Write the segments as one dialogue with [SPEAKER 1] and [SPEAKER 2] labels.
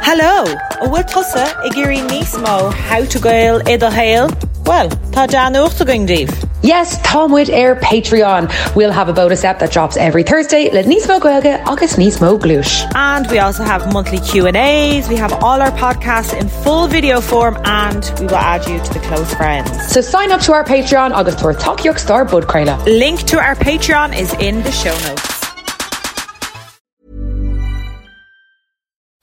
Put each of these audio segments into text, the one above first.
[SPEAKER 1] Hello, a bhfuil tusa i ggéirí níos mó hátagail iad a héal? Well, tá dean uachta going díobh.
[SPEAKER 2] Yes, Tomwood Air Patreon. We'll have a bonus app that drops every Thursday. Let Nismo Goelga, August Nismo Glush.
[SPEAKER 1] And we also have monthly Q&As. We have all our podcasts in full video form and we will add you to the close friends.
[SPEAKER 2] So sign up to our Patreon, August Tor Talk York Star Bud Krayla.
[SPEAKER 1] Link to our Patreon is in the show notes.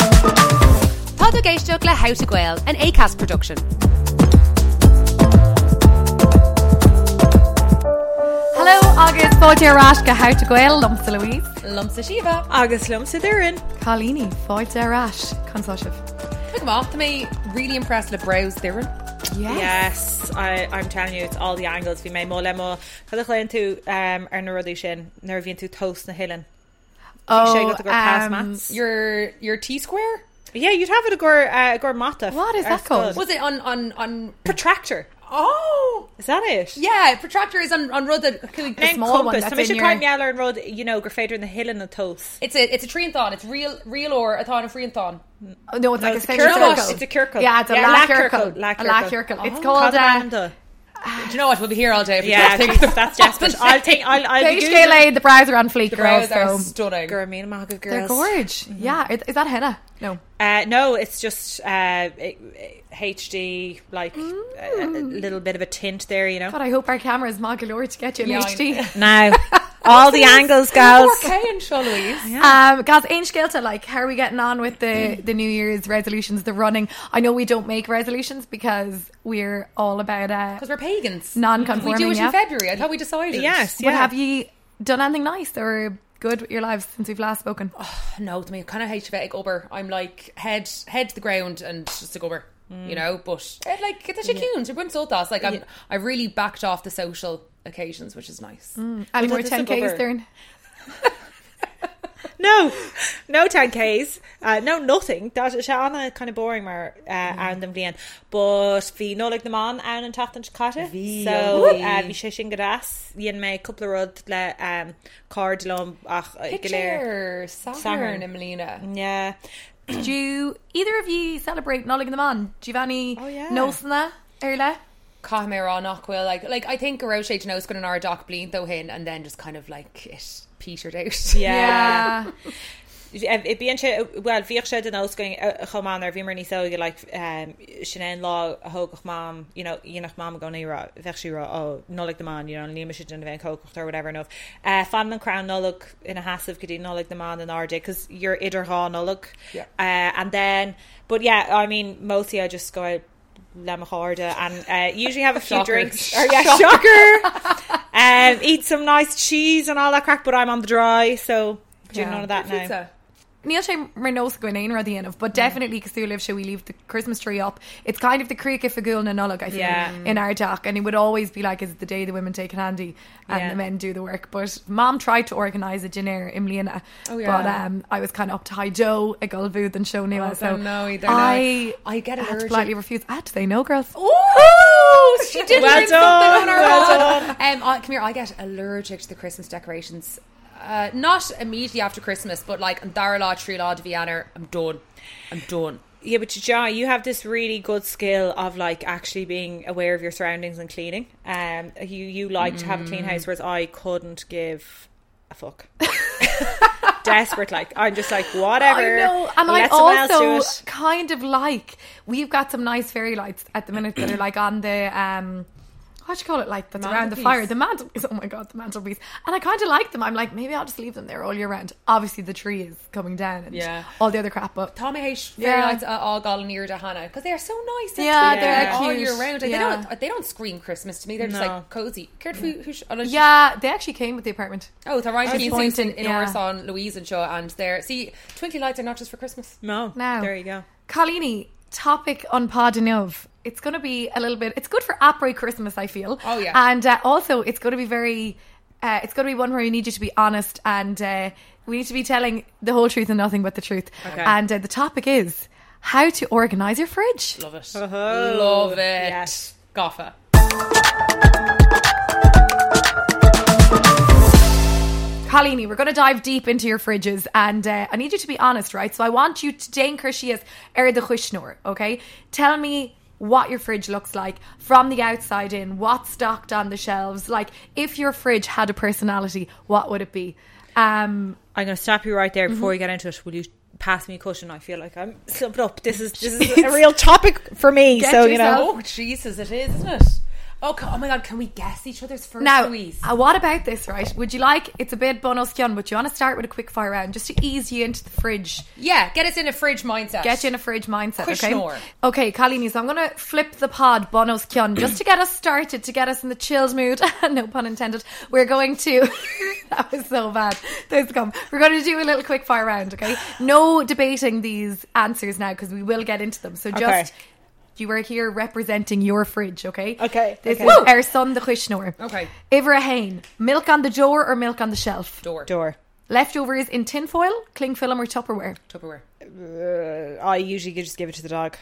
[SPEAKER 3] Pod o geisteach le How to Gael, an ACAST production. Hello, August Fáilte Rashka How to Gael, Lumsa Louise. Lumsa Shiva.
[SPEAKER 1] Agus lumsa dúrin.
[SPEAKER 3] Carlini, Fáilte Rash, Consortium.
[SPEAKER 4] Look, Moth, to me, really impressed with brows there.
[SPEAKER 1] Yes, I, I'm telling you, it's all the angles. Bhí mé mó le mó. Cadach le tú um, ar na rudí sin, nar bhíon tú toast na hillan. sé go
[SPEAKER 3] Oh,
[SPEAKER 1] to go past
[SPEAKER 3] um,
[SPEAKER 1] maths.
[SPEAKER 4] Your your T square
[SPEAKER 1] Yeah, you'd have it a gore, uh, a gore mata.
[SPEAKER 3] What is
[SPEAKER 1] Or
[SPEAKER 3] that called?
[SPEAKER 1] scud.
[SPEAKER 4] was it on on on?
[SPEAKER 1] Protractor.
[SPEAKER 4] Oh,
[SPEAKER 1] Is that it?
[SPEAKER 4] yeah, protractor is on on Rud the, the
[SPEAKER 1] Name
[SPEAKER 4] small one.
[SPEAKER 1] compass.
[SPEAKER 4] That's
[SPEAKER 1] Tá mé
[SPEAKER 4] in
[SPEAKER 1] sin
[SPEAKER 4] your,
[SPEAKER 1] caiim meall ar an rud, you know, gur féidir na hillan na toast.
[SPEAKER 4] it's a it's a tree and thon. It's real real or a thon a free and thon.
[SPEAKER 3] Oh, no, it's like
[SPEAKER 1] it's
[SPEAKER 3] a circle.
[SPEAKER 1] a circle. It's a circle.
[SPEAKER 3] Yeah, it's a
[SPEAKER 1] Yeah,
[SPEAKER 3] la
[SPEAKER 1] la
[SPEAKER 3] circle.
[SPEAKER 1] circle, la Oh,
[SPEAKER 3] A la
[SPEAKER 1] circle.
[SPEAKER 3] circle. It's called uh,
[SPEAKER 1] Cadamanda.
[SPEAKER 4] Do you know what? We'll be here all day. if we
[SPEAKER 1] Yeah,
[SPEAKER 4] don't think
[SPEAKER 1] Jesus,
[SPEAKER 4] of
[SPEAKER 1] that's
[SPEAKER 4] what's
[SPEAKER 1] desperate.
[SPEAKER 4] been
[SPEAKER 1] I'll
[SPEAKER 4] said.
[SPEAKER 1] take. I'll. I'll be
[SPEAKER 3] Beige Gael, the brows are on fleek.
[SPEAKER 4] The brows are
[SPEAKER 3] so-
[SPEAKER 4] stunning.
[SPEAKER 1] Girl, me and Maga girls.
[SPEAKER 3] They're gorge. Yeah, is is that henna? No.
[SPEAKER 1] Uh, no, it's just uh, it- it- HD, like uh, a, a little bit of a tint there, you know.
[SPEAKER 3] God, I hope our camera is Magalore to get you in
[SPEAKER 4] Yeah, I-
[SPEAKER 3] HD.
[SPEAKER 1] Now, all the angles, girls.
[SPEAKER 4] Okay, and Shaw Louise.
[SPEAKER 3] Um, guys, Ainge Gaelta, like, how are we getting on with the, the New Year's resolutions, the running? I know we don't make resolutions because we're all about uh,
[SPEAKER 4] Because we're pagans. we
[SPEAKER 3] non-conforming.
[SPEAKER 4] do it
[SPEAKER 3] yeah.
[SPEAKER 4] in February. I thought we decided.
[SPEAKER 1] Yes,
[SPEAKER 3] But
[SPEAKER 1] yeah.
[SPEAKER 3] have you done anything nice or good with your lives since we've last spoken?
[SPEAKER 1] Oh,
[SPEAKER 4] No, to me, I kind of hate Shvetic Uber. I'm like head head to the ground and just a gubber, mm. you know. But eh, like it's actually cute. You're insult us. Like I'm, yeah. I really backed off the social occasions, which is nice. Mm.
[SPEAKER 3] Any more
[SPEAKER 1] does this
[SPEAKER 3] 10Ks
[SPEAKER 1] cover?
[SPEAKER 3] there?
[SPEAKER 1] No, no 10Ks, uh, no nothing. That is Anna kind of boring mar uh, and am blian. But fi nolig them on an and taftan chicata. So uh, vi shishin gadas. Yen me couple of rod le um, card lom ach uh, galer.
[SPEAKER 4] Picture Saturn
[SPEAKER 1] Saturn.
[SPEAKER 4] and Melina.
[SPEAKER 1] Yeah.
[SPEAKER 3] Did you, either of you celebrate Nollig the Man? Giovanni oh,
[SPEAKER 1] yeah.
[SPEAKER 3] Nolsna, Erla?
[SPEAKER 4] Cahmera on Aquil. Like like I think Roche to know it's going to our doc bleed though hin, and then just kind of like it petered out.
[SPEAKER 1] Yeah. it being well vir sé den os going choman er vimer ní so you like um sin lá a hoogch mam you know you nach mam go ni ra vexi ra oh nolik de man you know ni se den van kocht or whatever no uh fan an crown nolik in a hassive gedi nolik de man an rj because you're idir ha nolik
[SPEAKER 4] Yeah.
[SPEAKER 1] uh and then but yeah I mean mostly I just go out lemaharda and uh usually have a few
[SPEAKER 4] Shocker.
[SPEAKER 1] drinks or yeah shocker um eat some nice cheese and all that crack but I'm on the dry so do
[SPEAKER 3] Yeah.
[SPEAKER 1] yeah. none of that now.
[SPEAKER 4] Pizza.
[SPEAKER 3] Níl sé marnos goin éon ra dhéanamh,
[SPEAKER 4] Mm.
[SPEAKER 3] but definitely cosúlah se we leave the Christmas tree up. It's kind of the creek if a ghoul na nullag, I feel,
[SPEAKER 1] Yeah.
[SPEAKER 3] in our dock, and it would always be like, is the day the women take an handy and yeah.
[SPEAKER 1] Yeah.
[SPEAKER 3] the men do the work. But mom tried to organise a dinner in Mlíana, oh,
[SPEAKER 4] yeah.
[SPEAKER 3] but um, I was kind of up to high Joe, a gull booth and show new.
[SPEAKER 4] Oh,
[SPEAKER 3] so
[SPEAKER 4] don't know either, no.
[SPEAKER 3] I,
[SPEAKER 4] I get
[SPEAKER 3] had to
[SPEAKER 4] allergic.
[SPEAKER 3] politely refuse. I had to say no, girls.
[SPEAKER 4] Oh, she did
[SPEAKER 1] Well
[SPEAKER 4] well done,
[SPEAKER 1] done,
[SPEAKER 4] something on her
[SPEAKER 1] well
[SPEAKER 4] own. Um, I, come here, I get allergic to the Christmas decorations. Uh, not immediately after Christmas, but like I'm Darla, Trila, Vienna. I'm done. I'm done.
[SPEAKER 1] Yeah, but Ja, you have this really good skill of like actually being aware of your surroundings and cleaning. Um, you you like to have a clean house, whereas I couldn't give a fuck. Desperate, like I'm just like whatever.
[SPEAKER 3] I know, and
[SPEAKER 1] let someone
[SPEAKER 3] I
[SPEAKER 1] else
[SPEAKER 3] also
[SPEAKER 1] do it.
[SPEAKER 3] kind of like we've got some nice fairy lights at the minute that are like on the um what do you call it? Like that's around the fire. The mantelpiece. Oh my god, the mantelpiece. And I kind of like them. I'm like, maybe I'll just leave them there all year round. Obviously, the tree is coming down and
[SPEAKER 4] Yeah.
[SPEAKER 3] all the other crap. But
[SPEAKER 4] Tommy H fairy
[SPEAKER 3] Yeah.
[SPEAKER 4] lights are all gone near to Hannah because they are so nice. They're
[SPEAKER 3] Yeah,
[SPEAKER 4] cute.
[SPEAKER 3] they're
[SPEAKER 4] all
[SPEAKER 3] cute.
[SPEAKER 4] year round. Like,
[SPEAKER 3] Yeah.
[SPEAKER 4] They don't they don't scream Christmas to me. They're just
[SPEAKER 1] No.
[SPEAKER 4] like cozy. Cared for who? sh- unless-
[SPEAKER 3] yeah, they actually came with the apartment.
[SPEAKER 4] Oh, they're right in
[SPEAKER 3] Disappointing,
[SPEAKER 4] Susan in
[SPEAKER 3] yeah.
[SPEAKER 4] Orson, Louise and Shaw, and they're see twinkly lights are not just for Christmas.
[SPEAKER 1] No.
[SPEAKER 3] Now,
[SPEAKER 1] There you go.
[SPEAKER 3] Colleeny, topic on Pod Enough. It's going to be a little bit. It's good for après Christmas, I feel.
[SPEAKER 4] Oh, yeah.
[SPEAKER 3] And uh, also, it's going to be very. Uh, it's going to be one where you need you to be honest, and uh, we need to be telling the whole truth and nothing but the truth.
[SPEAKER 1] Okay.
[SPEAKER 3] And uh, the topic is how to organize your fridge.
[SPEAKER 4] Love it. Love
[SPEAKER 1] Oh,
[SPEAKER 4] it.
[SPEAKER 1] yes.
[SPEAKER 4] Goffa.
[SPEAKER 3] Colleeny, we're going to dive deep into your fridges and uh, I need you to be honest, right? So I want you to Dane Kershias er the Khushnor, okay? Tell me what your fridge looks like from the outside in, what's stocked on the shelves. Like, if your fridge had a personality, what would it be? Um,
[SPEAKER 1] I'm going to stop you right there
[SPEAKER 3] Mm-hmm.
[SPEAKER 1] before we get into it. Will you pass me a cushion? I feel like I'm slumped up. This is this is a real topic for me.
[SPEAKER 3] Get
[SPEAKER 1] so you
[SPEAKER 3] yourself-
[SPEAKER 1] know,
[SPEAKER 4] Oh Jesus, it is, isn't it? Oh, co- oh my God, can we guess each other's first,
[SPEAKER 3] now,
[SPEAKER 4] Louise?
[SPEAKER 3] uh, what about this, right? Would you like, it's a bit bonus kion, but you want to start with a quick fire round just to ease you into the fridge.
[SPEAKER 4] yeah, get us in a fridge mindset.
[SPEAKER 3] Get you in a fridge mindset,
[SPEAKER 4] Kushnor.
[SPEAKER 3] okay? Okay, Colleen, so I'm going to flip the pod, Bono's Kion, just to get us started, to get us in the chilled mood. no pun intended. We're going to. that was so bad. Those come. We're going to do a little quick fire round, okay? No debating these answers now because we will get into them. So just.
[SPEAKER 1] Okay.
[SPEAKER 3] You are here representing your fridge, okay?
[SPEAKER 1] Okay,
[SPEAKER 3] This
[SPEAKER 1] okay.
[SPEAKER 3] is
[SPEAKER 1] Woo!
[SPEAKER 3] our son, the Kushnor.
[SPEAKER 4] Okay.
[SPEAKER 3] Ivra Hain, milk on the door or milk on the shelf?
[SPEAKER 4] door.
[SPEAKER 1] door.
[SPEAKER 3] Leftovers in tinfoil, cling film, or Tupperware?
[SPEAKER 4] Tupperware.
[SPEAKER 1] I usually just give it to the dog.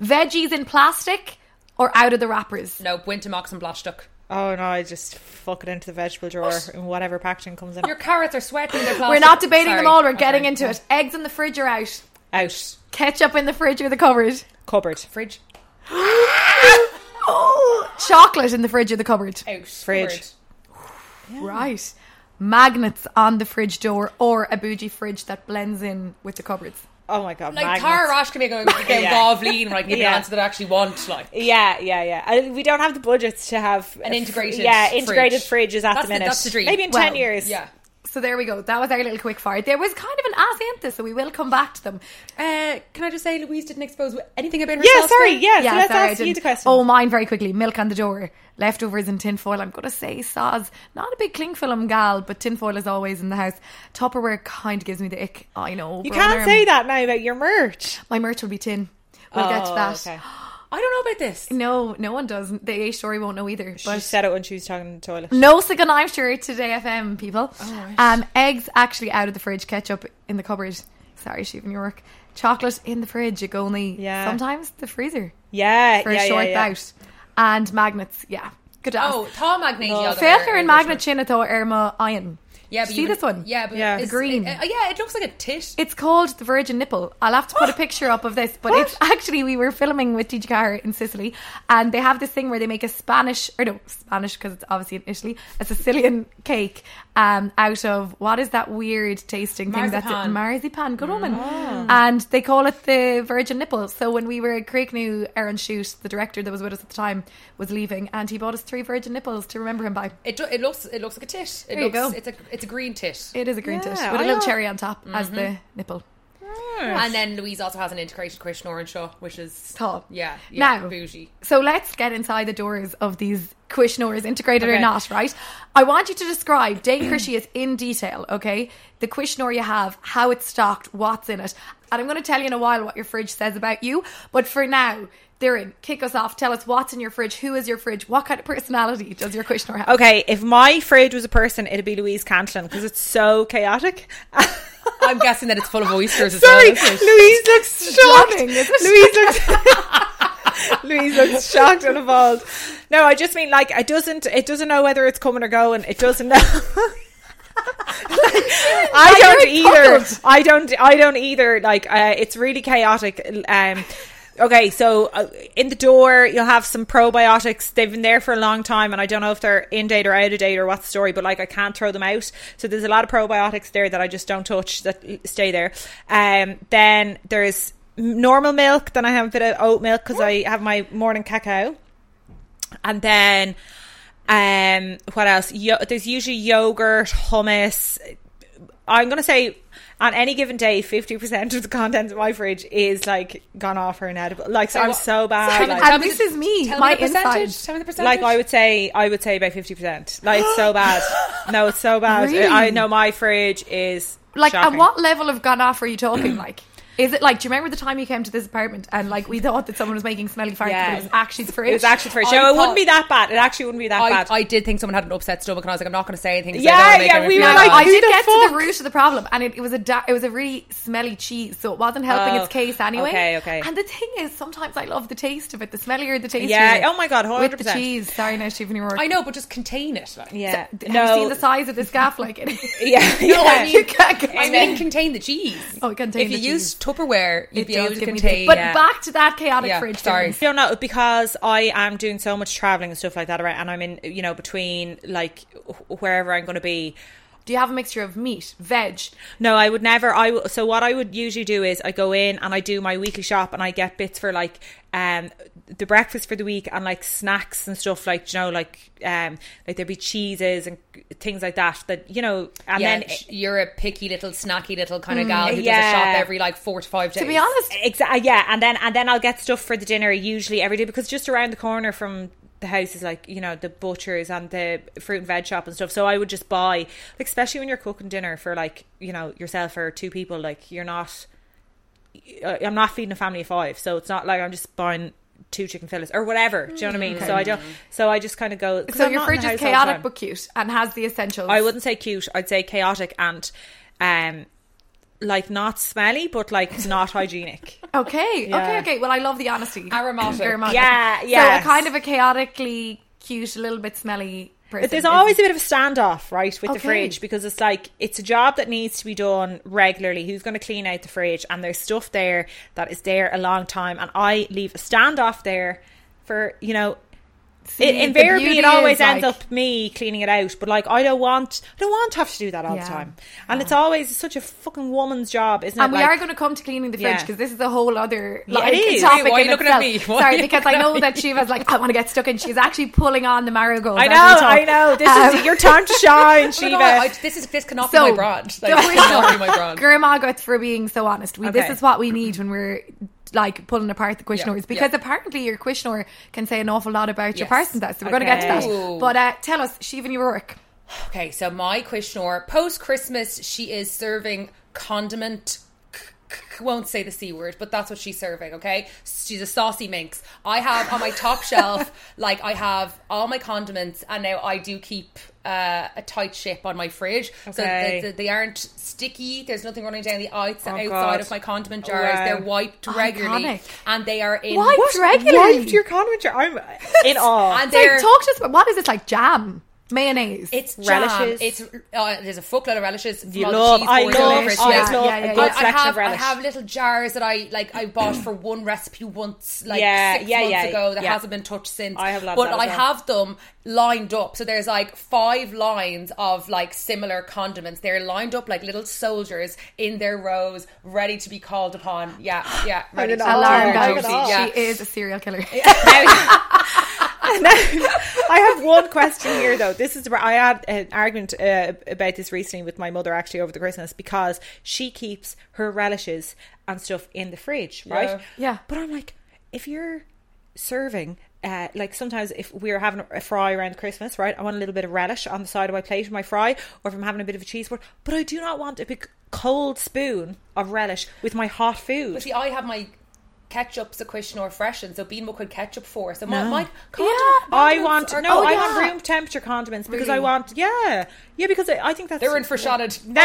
[SPEAKER 3] veggies in plastic or out of the wrappers.
[SPEAKER 4] No, Wintermox and Blastook.
[SPEAKER 1] Oh no, I just fuck it into the vegetable drawer and whatever packaging comes in.
[SPEAKER 4] Your carrots are sweating. They're plastic.
[SPEAKER 3] We're not debating them
[SPEAKER 4] Sorry.
[SPEAKER 3] all, we're
[SPEAKER 4] Okay.
[SPEAKER 3] getting into it. Eggs in the fridge are out.
[SPEAKER 1] out.
[SPEAKER 3] Ketchup in the fridge or the cupboard.
[SPEAKER 1] Cupboard.
[SPEAKER 4] Fridge.
[SPEAKER 3] Oh, chocolate in the fridge or the cupboard.
[SPEAKER 4] Out.
[SPEAKER 1] Fridge.
[SPEAKER 4] Cupboard.
[SPEAKER 3] Right. Magnets on the fridge door or a bougie fridge that blends in with the cupboards.
[SPEAKER 1] Oh my god.
[SPEAKER 4] Like
[SPEAKER 1] magnets.
[SPEAKER 4] Tara Rosh can make a game
[SPEAKER 1] Yeah.
[SPEAKER 4] of lean, right? Give
[SPEAKER 1] Yeah.
[SPEAKER 4] an answer that I actually want, like.
[SPEAKER 1] Yeah, yeah, yeah. I, we don't have the budgets to have
[SPEAKER 4] An
[SPEAKER 1] a fr-
[SPEAKER 4] integrated
[SPEAKER 1] yeah, integrated
[SPEAKER 4] fridge.
[SPEAKER 1] fridges at
[SPEAKER 4] That's
[SPEAKER 1] the
[SPEAKER 4] the-
[SPEAKER 1] minute.
[SPEAKER 4] that's the dream.
[SPEAKER 1] Maybe in
[SPEAKER 3] Well,
[SPEAKER 1] ten years.
[SPEAKER 4] Yeah.
[SPEAKER 3] So there we go. That was our little quick fire. There was kind of an ass empty, so we will come back to them.
[SPEAKER 4] Uh, can I just say Louise didn't expose anything about herself?
[SPEAKER 1] Yeah. Sorry.
[SPEAKER 4] then?
[SPEAKER 1] Yeah. so let's
[SPEAKER 3] sorry, I
[SPEAKER 1] ask you
[SPEAKER 3] didn't-
[SPEAKER 1] the question.
[SPEAKER 3] Oh, mine very quickly. Milk on the door, leftovers in tinfoil. I'm going to say Saz. Not a big cling film gal, but tinfoil is always in the house. Tupperware kind of gives me the ick. I know.
[SPEAKER 1] you
[SPEAKER 3] Bronner.
[SPEAKER 1] can't say that now about your merch.
[SPEAKER 3] My merch will be tin. We'll get to
[SPEAKER 1] Oh,
[SPEAKER 3] that.
[SPEAKER 1] okay.
[SPEAKER 4] I don't know about this.
[SPEAKER 3] No, no one does. The A story won't know either.
[SPEAKER 1] She
[SPEAKER 3] But Mm.
[SPEAKER 1] said it when she was talking in the toilet.
[SPEAKER 3] no second I'm sure today FM people. Um, eggs actually out of the fridge, ketchup in the cupboard. Sorry, Stephen York. Chocolate in the fridge. You go only
[SPEAKER 1] Yeah.
[SPEAKER 3] sometimes the freezer
[SPEAKER 1] Yeah.
[SPEAKER 3] for
[SPEAKER 1] yeah,
[SPEAKER 3] a short
[SPEAKER 1] yeah, yeah.
[SPEAKER 3] bout. And magnets, yeah. Good ask.
[SPEAKER 4] Oh, Tom Magnesia. No.
[SPEAKER 3] Failure in magnet chin though Irma Iron.
[SPEAKER 4] Yeah, but
[SPEAKER 3] See
[SPEAKER 4] you
[SPEAKER 3] this one?
[SPEAKER 4] Yeah, but
[SPEAKER 1] Yeah.
[SPEAKER 4] it's-
[SPEAKER 3] Green.
[SPEAKER 4] It, uh, yeah, it looks like a tit.
[SPEAKER 3] It's called the Virgin Nipple. I'll have to put a picture up of this, but it's actually we were filming with DJ Carr in Sicily, and they have this thing where they make a Spanish or no Spanish because it's obviously in Italy, a Sicilian cake um, out of what is that weird tasting thing that's it?
[SPEAKER 4] Marzipan.
[SPEAKER 3] marzipan, good woman,
[SPEAKER 1] Mm.
[SPEAKER 3] and they call it the Virgin Nipple. So when we were at Creeknew, Aaron Shute, the director that was with us at the time, was leaving, and he bought us three Virgin Nipples to remember him by.
[SPEAKER 4] It, do- it looks it looks like a tit. It
[SPEAKER 3] There you
[SPEAKER 4] looks,
[SPEAKER 3] go.
[SPEAKER 4] It's a it's a green tit.
[SPEAKER 3] It is a green
[SPEAKER 1] Yeah,
[SPEAKER 3] tit with a
[SPEAKER 1] I Mm-hmm.
[SPEAKER 3] little
[SPEAKER 1] al-
[SPEAKER 3] cherry on top as the nipple.
[SPEAKER 4] and then Louise also has an integrated Christian Orange Shaw, which is
[SPEAKER 3] Top.
[SPEAKER 4] Yeah, yeah
[SPEAKER 3] Now-
[SPEAKER 4] bougie.
[SPEAKER 3] So let's get inside the doors of these Quishnors, integrated or
[SPEAKER 4] Okay.
[SPEAKER 3] not, right? I want you to describe Dane Crishius in detail, okay? The Quishnor you have, how it's stocked, what's in it. And I'm going to tell you in a while what your fridge says about you. But for now, Darren, kick us off. Tell us what's in your fridge. Who is your fridge? What kind of personality does your Quishnor have?
[SPEAKER 1] Okay, if my fridge was a person, it'd be Louise Cantlin because it's so chaotic.
[SPEAKER 4] I'm guessing that it's full of oysters as
[SPEAKER 1] Sorry,
[SPEAKER 4] well. isn't it?
[SPEAKER 1] Louise looks shocked.
[SPEAKER 3] Loving, isn't
[SPEAKER 1] Louise looks. Louise looks shocked and appalled. No, I just mean like it doesn't. It doesn't know whether it's coming or going. It doesn't know. I don't
[SPEAKER 3] you're
[SPEAKER 1] either. I don't. I don't either. Like uh, it's really chaotic. Um, okay, so uh, in the door you'll have some probiotics. They've been there for a long time, and I don't know if they're in date or out of date or what the story. But like I can't throw them out. So there's a lot of probiotics there that I just don't touch that stay there. Um, then there's normal milk. Then I have a bit of oat milk because I have my morning cacao. and then um, what else? Yo- there's usually yogurt, hummus. I'm gonna say on any given day, fifty percent of the contents of my fridge is like gone off or inedible. Like so I'm
[SPEAKER 4] what-
[SPEAKER 1] so bad.
[SPEAKER 4] Tell me-
[SPEAKER 1] like-
[SPEAKER 4] tell
[SPEAKER 3] And
[SPEAKER 4] me
[SPEAKER 3] this
[SPEAKER 4] the-
[SPEAKER 3] is me,
[SPEAKER 4] tell
[SPEAKER 3] my
[SPEAKER 4] the percentage.
[SPEAKER 3] inside.
[SPEAKER 4] Tell me the percentage.
[SPEAKER 1] like I would say, I would say about fifty percent. Like it's so bad. No, it's so bad.
[SPEAKER 3] Really?
[SPEAKER 1] I know my fridge is
[SPEAKER 3] Like,
[SPEAKER 1] shocking.
[SPEAKER 3] at what level of gone off are you talking? Like, is it like? Do you remember the time you came to this apartment and like we thought that someone was making smelly farts?
[SPEAKER 1] Yeah.
[SPEAKER 3] but it was actually the fridge.
[SPEAKER 1] It was actually the fridge.
[SPEAKER 4] I
[SPEAKER 1] No, it wouldn't
[SPEAKER 4] thought-
[SPEAKER 1] be that bad. It actually wouldn't be that
[SPEAKER 4] I,
[SPEAKER 1] bad.
[SPEAKER 4] I did think someone had an upset stomach, and I was like, I'm not going to say anything. 'cause
[SPEAKER 1] Yeah,
[SPEAKER 4] I don't wanna make
[SPEAKER 1] yeah,
[SPEAKER 4] her
[SPEAKER 1] we
[SPEAKER 4] feel
[SPEAKER 1] were
[SPEAKER 4] bad.
[SPEAKER 3] No,
[SPEAKER 1] like,
[SPEAKER 3] I
[SPEAKER 1] who
[SPEAKER 3] did
[SPEAKER 1] the
[SPEAKER 3] get to the
[SPEAKER 1] fuck?
[SPEAKER 3] root of the problem, and it, it was a da- it was a really smelly cheese, so it wasn't helping
[SPEAKER 1] Oh,
[SPEAKER 3] its case anyway.
[SPEAKER 1] okay, okay.
[SPEAKER 3] And the thing is, sometimes I love the taste of it. The smellier the taste,
[SPEAKER 1] Yeah,
[SPEAKER 3] of it,
[SPEAKER 1] oh my God,
[SPEAKER 3] with the
[SPEAKER 1] 100%.
[SPEAKER 3] cheese. Sorry, now Stephen, you
[SPEAKER 4] I know, but just contain it. Like.
[SPEAKER 1] yeah.
[SPEAKER 3] Have
[SPEAKER 1] no.
[SPEAKER 3] you seen the size of this gaff? Like it.
[SPEAKER 1] yeah.
[SPEAKER 4] No, I
[SPEAKER 1] yeah.
[SPEAKER 4] mean,
[SPEAKER 3] You can't get-
[SPEAKER 4] I mean, contain the cheese.
[SPEAKER 3] Oh, contain
[SPEAKER 4] If
[SPEAKER 3] the
[SPEAKER 4] you
[SPEAKER 3] cheese.
[SPEAKER 4] use Tupperware, you'd be
[SPEAKER 3] does
[SPEAKER 4] able to
[SPEAKER 3] give me the-
[SPEAKER 4] contain.
[SPEAKER 3] But
[SPEAKER 4] yeah.
[SPEAKER 3] back to that chaotic
[SPEAKER 4] Yeah,
[SPEAKER 3] fridge.
[SPEAKER 4] sorry.
[SPEAKER 3] Denise.
[SPEAKER 1] I don't know because I am doing so much traveling and stuff like that around, and I'm in you know between like wh- wherever I'm going to be.
[SPEAKER 3] Do you have a mixture of meat, veg?
[SPEAKER 1] No, I would never. I w- so what I would usually do is I go in and I do my weekly shop and I get bits for like um the breakfast for the week and like snacks and stuff like you know like um like there'd be cheeses and things like that that you know and
[SPEAKER 4] yeah,
[SPEAKER 1] then
[SPEAKER 4] sh- you're a picky little snacky little kind of gal who does
[SPEAKER 1] yeah.
[SPEAKER 4] a shop every like four to five days.
[SPEAKER 3] Mm, To be honest,
[SPEAKER 1] Exactly. uh, Yeah, and then and then I'll get stuff for the dinner usually every day because just around the corner from the house is like you know the butchers and the fruit and veg shop and stuff. So I would just buy, like, especially when you're cooking dinner for like you know yourself or two people. Like you're not, uh, I'm not feeding a family of five, so it's not like I'm just buying two chicken fillets or whatever. Do you know what I mean? So I don't. So I just kind of go. 'cause
[SPEAKER 3] Mm-hmm. so
[SPEAKER 1] I'm
[SPEAKER 3] your
[SPEAKER 1] not in
[SPEAKER 3] fridge
[SPEAKER 1] the
[SPEAKER 3] is
[SPEAKER 1] house all the
[SPEAKER 3] chaotic
[SPEAKER 1] time.
[SPEAKER 3] but cute and has the essentials.
[SPEAKER 1] I wouldn't say cute. I'd say chaotic and, um, like not smelly, but like not hygienic.
[SPEAKER 3] Okay, okay,
[SPEAKER 1] Yeah.
[SPEAKER 3] okay. Well, I love the honesty.
[SPEAKER 4] Aromatic.
[SPEAKER 1] Yeah,
[SPEAKER 3] yeah.
[SPEAKER 1] yes.
[SPEAKER 3] So a kind of a chaotically cute, a little bit smelly person.
[SPEAKER 1] But there's
[SPEAKER 3] is-
[SPEAKER 1] always a bit of a standoff, right, with the
[SPEAKER 3] Okay.
[SPEAKER 1] fridge because it's like it's a job that needs to be done regularly. Who's going to clean out the fridge? And there's stuff there that is there a long time, and I leave a standoff there for you know. it,
[SPEAKER 3] the
[SPEAKER 1] invariably, it
[SPEAKER 3] beauty
[SPEAKER 1] always
[SPEAKER 3] is,
[SPEAKER 1] ends
[SPEAKER 3] like-
[SPEAKER 1] up me cleaning it out. But like, I don't want, I don't want to have to do that all
[SPEAKER 3] Yeah.
[SPEAKER 1] the time. And it's always such a fucking woman's job, isn't it?
[SPEAKER 3] And we
[SPEAKER 1] Like-
[SPEAKER 3] are going to come to cleaning the fridge
[SPEAKER 1] Yeah.
[SPEAKER 3] because this is a whole other
[SPEAKER 1] Yeah, it
[SPEAKER 3] like,
[SPEAKER 1] is.
[SPEAKER 3] topic.
[SPEAKER 4] Hey, why are
[SPEAKER 3] in
[SPEAKER 4] you looking
[SPEAKER 3] itself.
[SPEAKER 4] at me? Why are
[SPEAKER 3] Sorry,
[SPEAKER 4] you
[SPEAKER 3] because I
[SPEAKER 4] looking at
[SPEAKER 3] know
[SPEAKER 4] me?
[SPEAKER 3] that Shiva's like, I want to get stuck in. She's actually pulling on the marigolds.
[SPEAKER 1] I
[SPEAKER 3] as
[SPEAKER 1] know,
[SPEAKER 3] we talk.
[SPEAKER 1] I know. This is
[SPEAKER 3] Um,
[SPEAKER 1] your time to shine, Shiva.
[SPEAKER 4] No, I, this is this cannot
[SPEAKER 3] So-
[SPEAKER 4] be my brand. Like,
[SPEAKER 3] Don't
[SPEAKER 4] this
[SPEAKER 3] worry.
[SPEAKER 4] cannot be my brand.
[SPEAKER 3] Grandma guts for being so honest. We, This
[SPEAKER 1] Okay.
[SPEAKER 3] is what we need when we're like pulling apart the Quishnors
[SPEAKER 4] Yeah,
[SPEAKER 3] because
[SPEAKER 4] yeah.
[SPEAKER 3] apparently your Quishnor can say an awful lot about your
[SPEAKER 4] Yes.
[SPEAKER 3] person. That so we're going to get to
[SPEAKER 1] Okay.
[SPEAKER 3] that.
[SPEAKER 4] Ooh.
[SPEAKER 3] But uh, tell us, Shiva New York.
[SPEAKER 4] Okay, so my Quishnor, post Christmas, she is serving condiment. c- c- Won't say the c word, but that's what she's serving. Okay, she's a saucy minx. I have on my top shelf, like I have all my condiments, and now I do keep uh, a tight ship on my fridge, so
[SPEAKER 1] Okay.
[SPEAKER 4] that that they aren't sticky. There's nothing running down the outs-
[SPEAKER 1] Oh,
[SPEAKER 4] outside
[SPEAKER 1] God. Oh,
[SPEAKER 4] of my condiment jars.
[SPEAKER 1] Wow.
[SPEAKER 4] They're wiped regularly,
[SPEAKER 3] Iconic.
[SPEAKER 4] and they are in
[SPEAKER 3] Wiped
[SPEAKER 1] What?
[SPEAKER 3] regularly.
[SPEAKER 1] Wiped your condiment jar? I'm in awe.
[SPEAKER 4] And
[SPEAKER 3] It's like,
[SPEAKER 4] they're
[SPEAKER 3] talk to us about what is this like jam, mayonnaise?
[SPEAKER 4] It's
[SPEAKER 1] Relishes.
[SPEAKER 4] relishes. It's uh, there's a fuckload of relishes. from
[SPEAKER 1] You
[SPEAKER 4] all the
[SPEAKER 1] love-
[SPEAKER 4] cheese
[SPEAKER 1] I
[SPEAKER 4] boards
[SPEAKER 3] love-
[SPEAKER 4] and everything.
[SPEAKER 3] I Yeah, love yeah, a yeah, good yeah.
[SPEAKER 4] I
[SPEAKER 1] selection of
[SPEAKER 4] have,
[SPEAKER 1] relish.
[SPEAKER 4] I have little jars that I like. I bought for one recipe once, like
[SPEAKER 1] Yeah,
[SPEAKER 4] six
[SPEAKER 1] yeah,
[SPEAKER 4] months
[SPEAKER 1] yeah,
[SPEAKER 4] ago. That
[SPEAKER 1] yeah.
[SPEAKER 4] hasn't been touched since.
[SPEAKER 1] I have loved
[SPEAKER 4] but
[SPEAKER 1] that as
[SPEAKER 4] I
[SPEAKER 1] well.
[SPEAKER 4] have them lined up. So there's like five lines of like similar condiments. They're lined up like little soldiers in their rows, ready to be called upon. Yeah, yeah, ready.
[SPEAKER 1] in
[SPEAKER 4] to
[SPEAKER 1] awe.
[SPEAKER 3] alarm
[SPEAKER 1] Oh,
[SPEAKER 4] charge.
[SPEAKER 1] I'm
[SPEAKER 3] bells.
[SPEAKER 1] in
[SPEAKER 4] Yeah.
[SPEAKER 1] awe.
[SPEAKER 3] She is a serial killer.
[SPEAKER 1] And then- I have one question here though. This is where I had an argument uh, about this recently with my mother actually over the Christmas because she keeps her relishes and stuff in the fridge, right?
[SPEAKER 4] Yeah.
[SPEAKER 3] Yeah.
[SPEAKER 1] But I'm like, if you're serving. Uh, like sometimes if we're having a fry around Christmas, right? I want a little bit of relish on the side of my plate of my fry, or if I'm having a bit of a cheese board. But I do not want a big cold spoon of relish with my hot food.
[SPEAKER 4] See, I have my ketchup's a Quishnor fresh, and so bean could ketchup for. So my,
[SPEAKER 1] No.
[SPEAKER 4] my
[SPEAKER 3] Yeah,
[SPEAKER 1] I want
[SPEAKER 4] are
[SPEAKER 1] no,
[SPEAKER 4] good.
[SPEAKER 1] I
[SPEAKER 3] yeah.
[SPEAKER 1] want room temperature condiments because I
[SPEAKER 3] Really?
[SPEAKER 1] want yeah, yeah because I, I think that's
[SPEAKER 4] They're in for shotted.
[SPEAKER 1] No,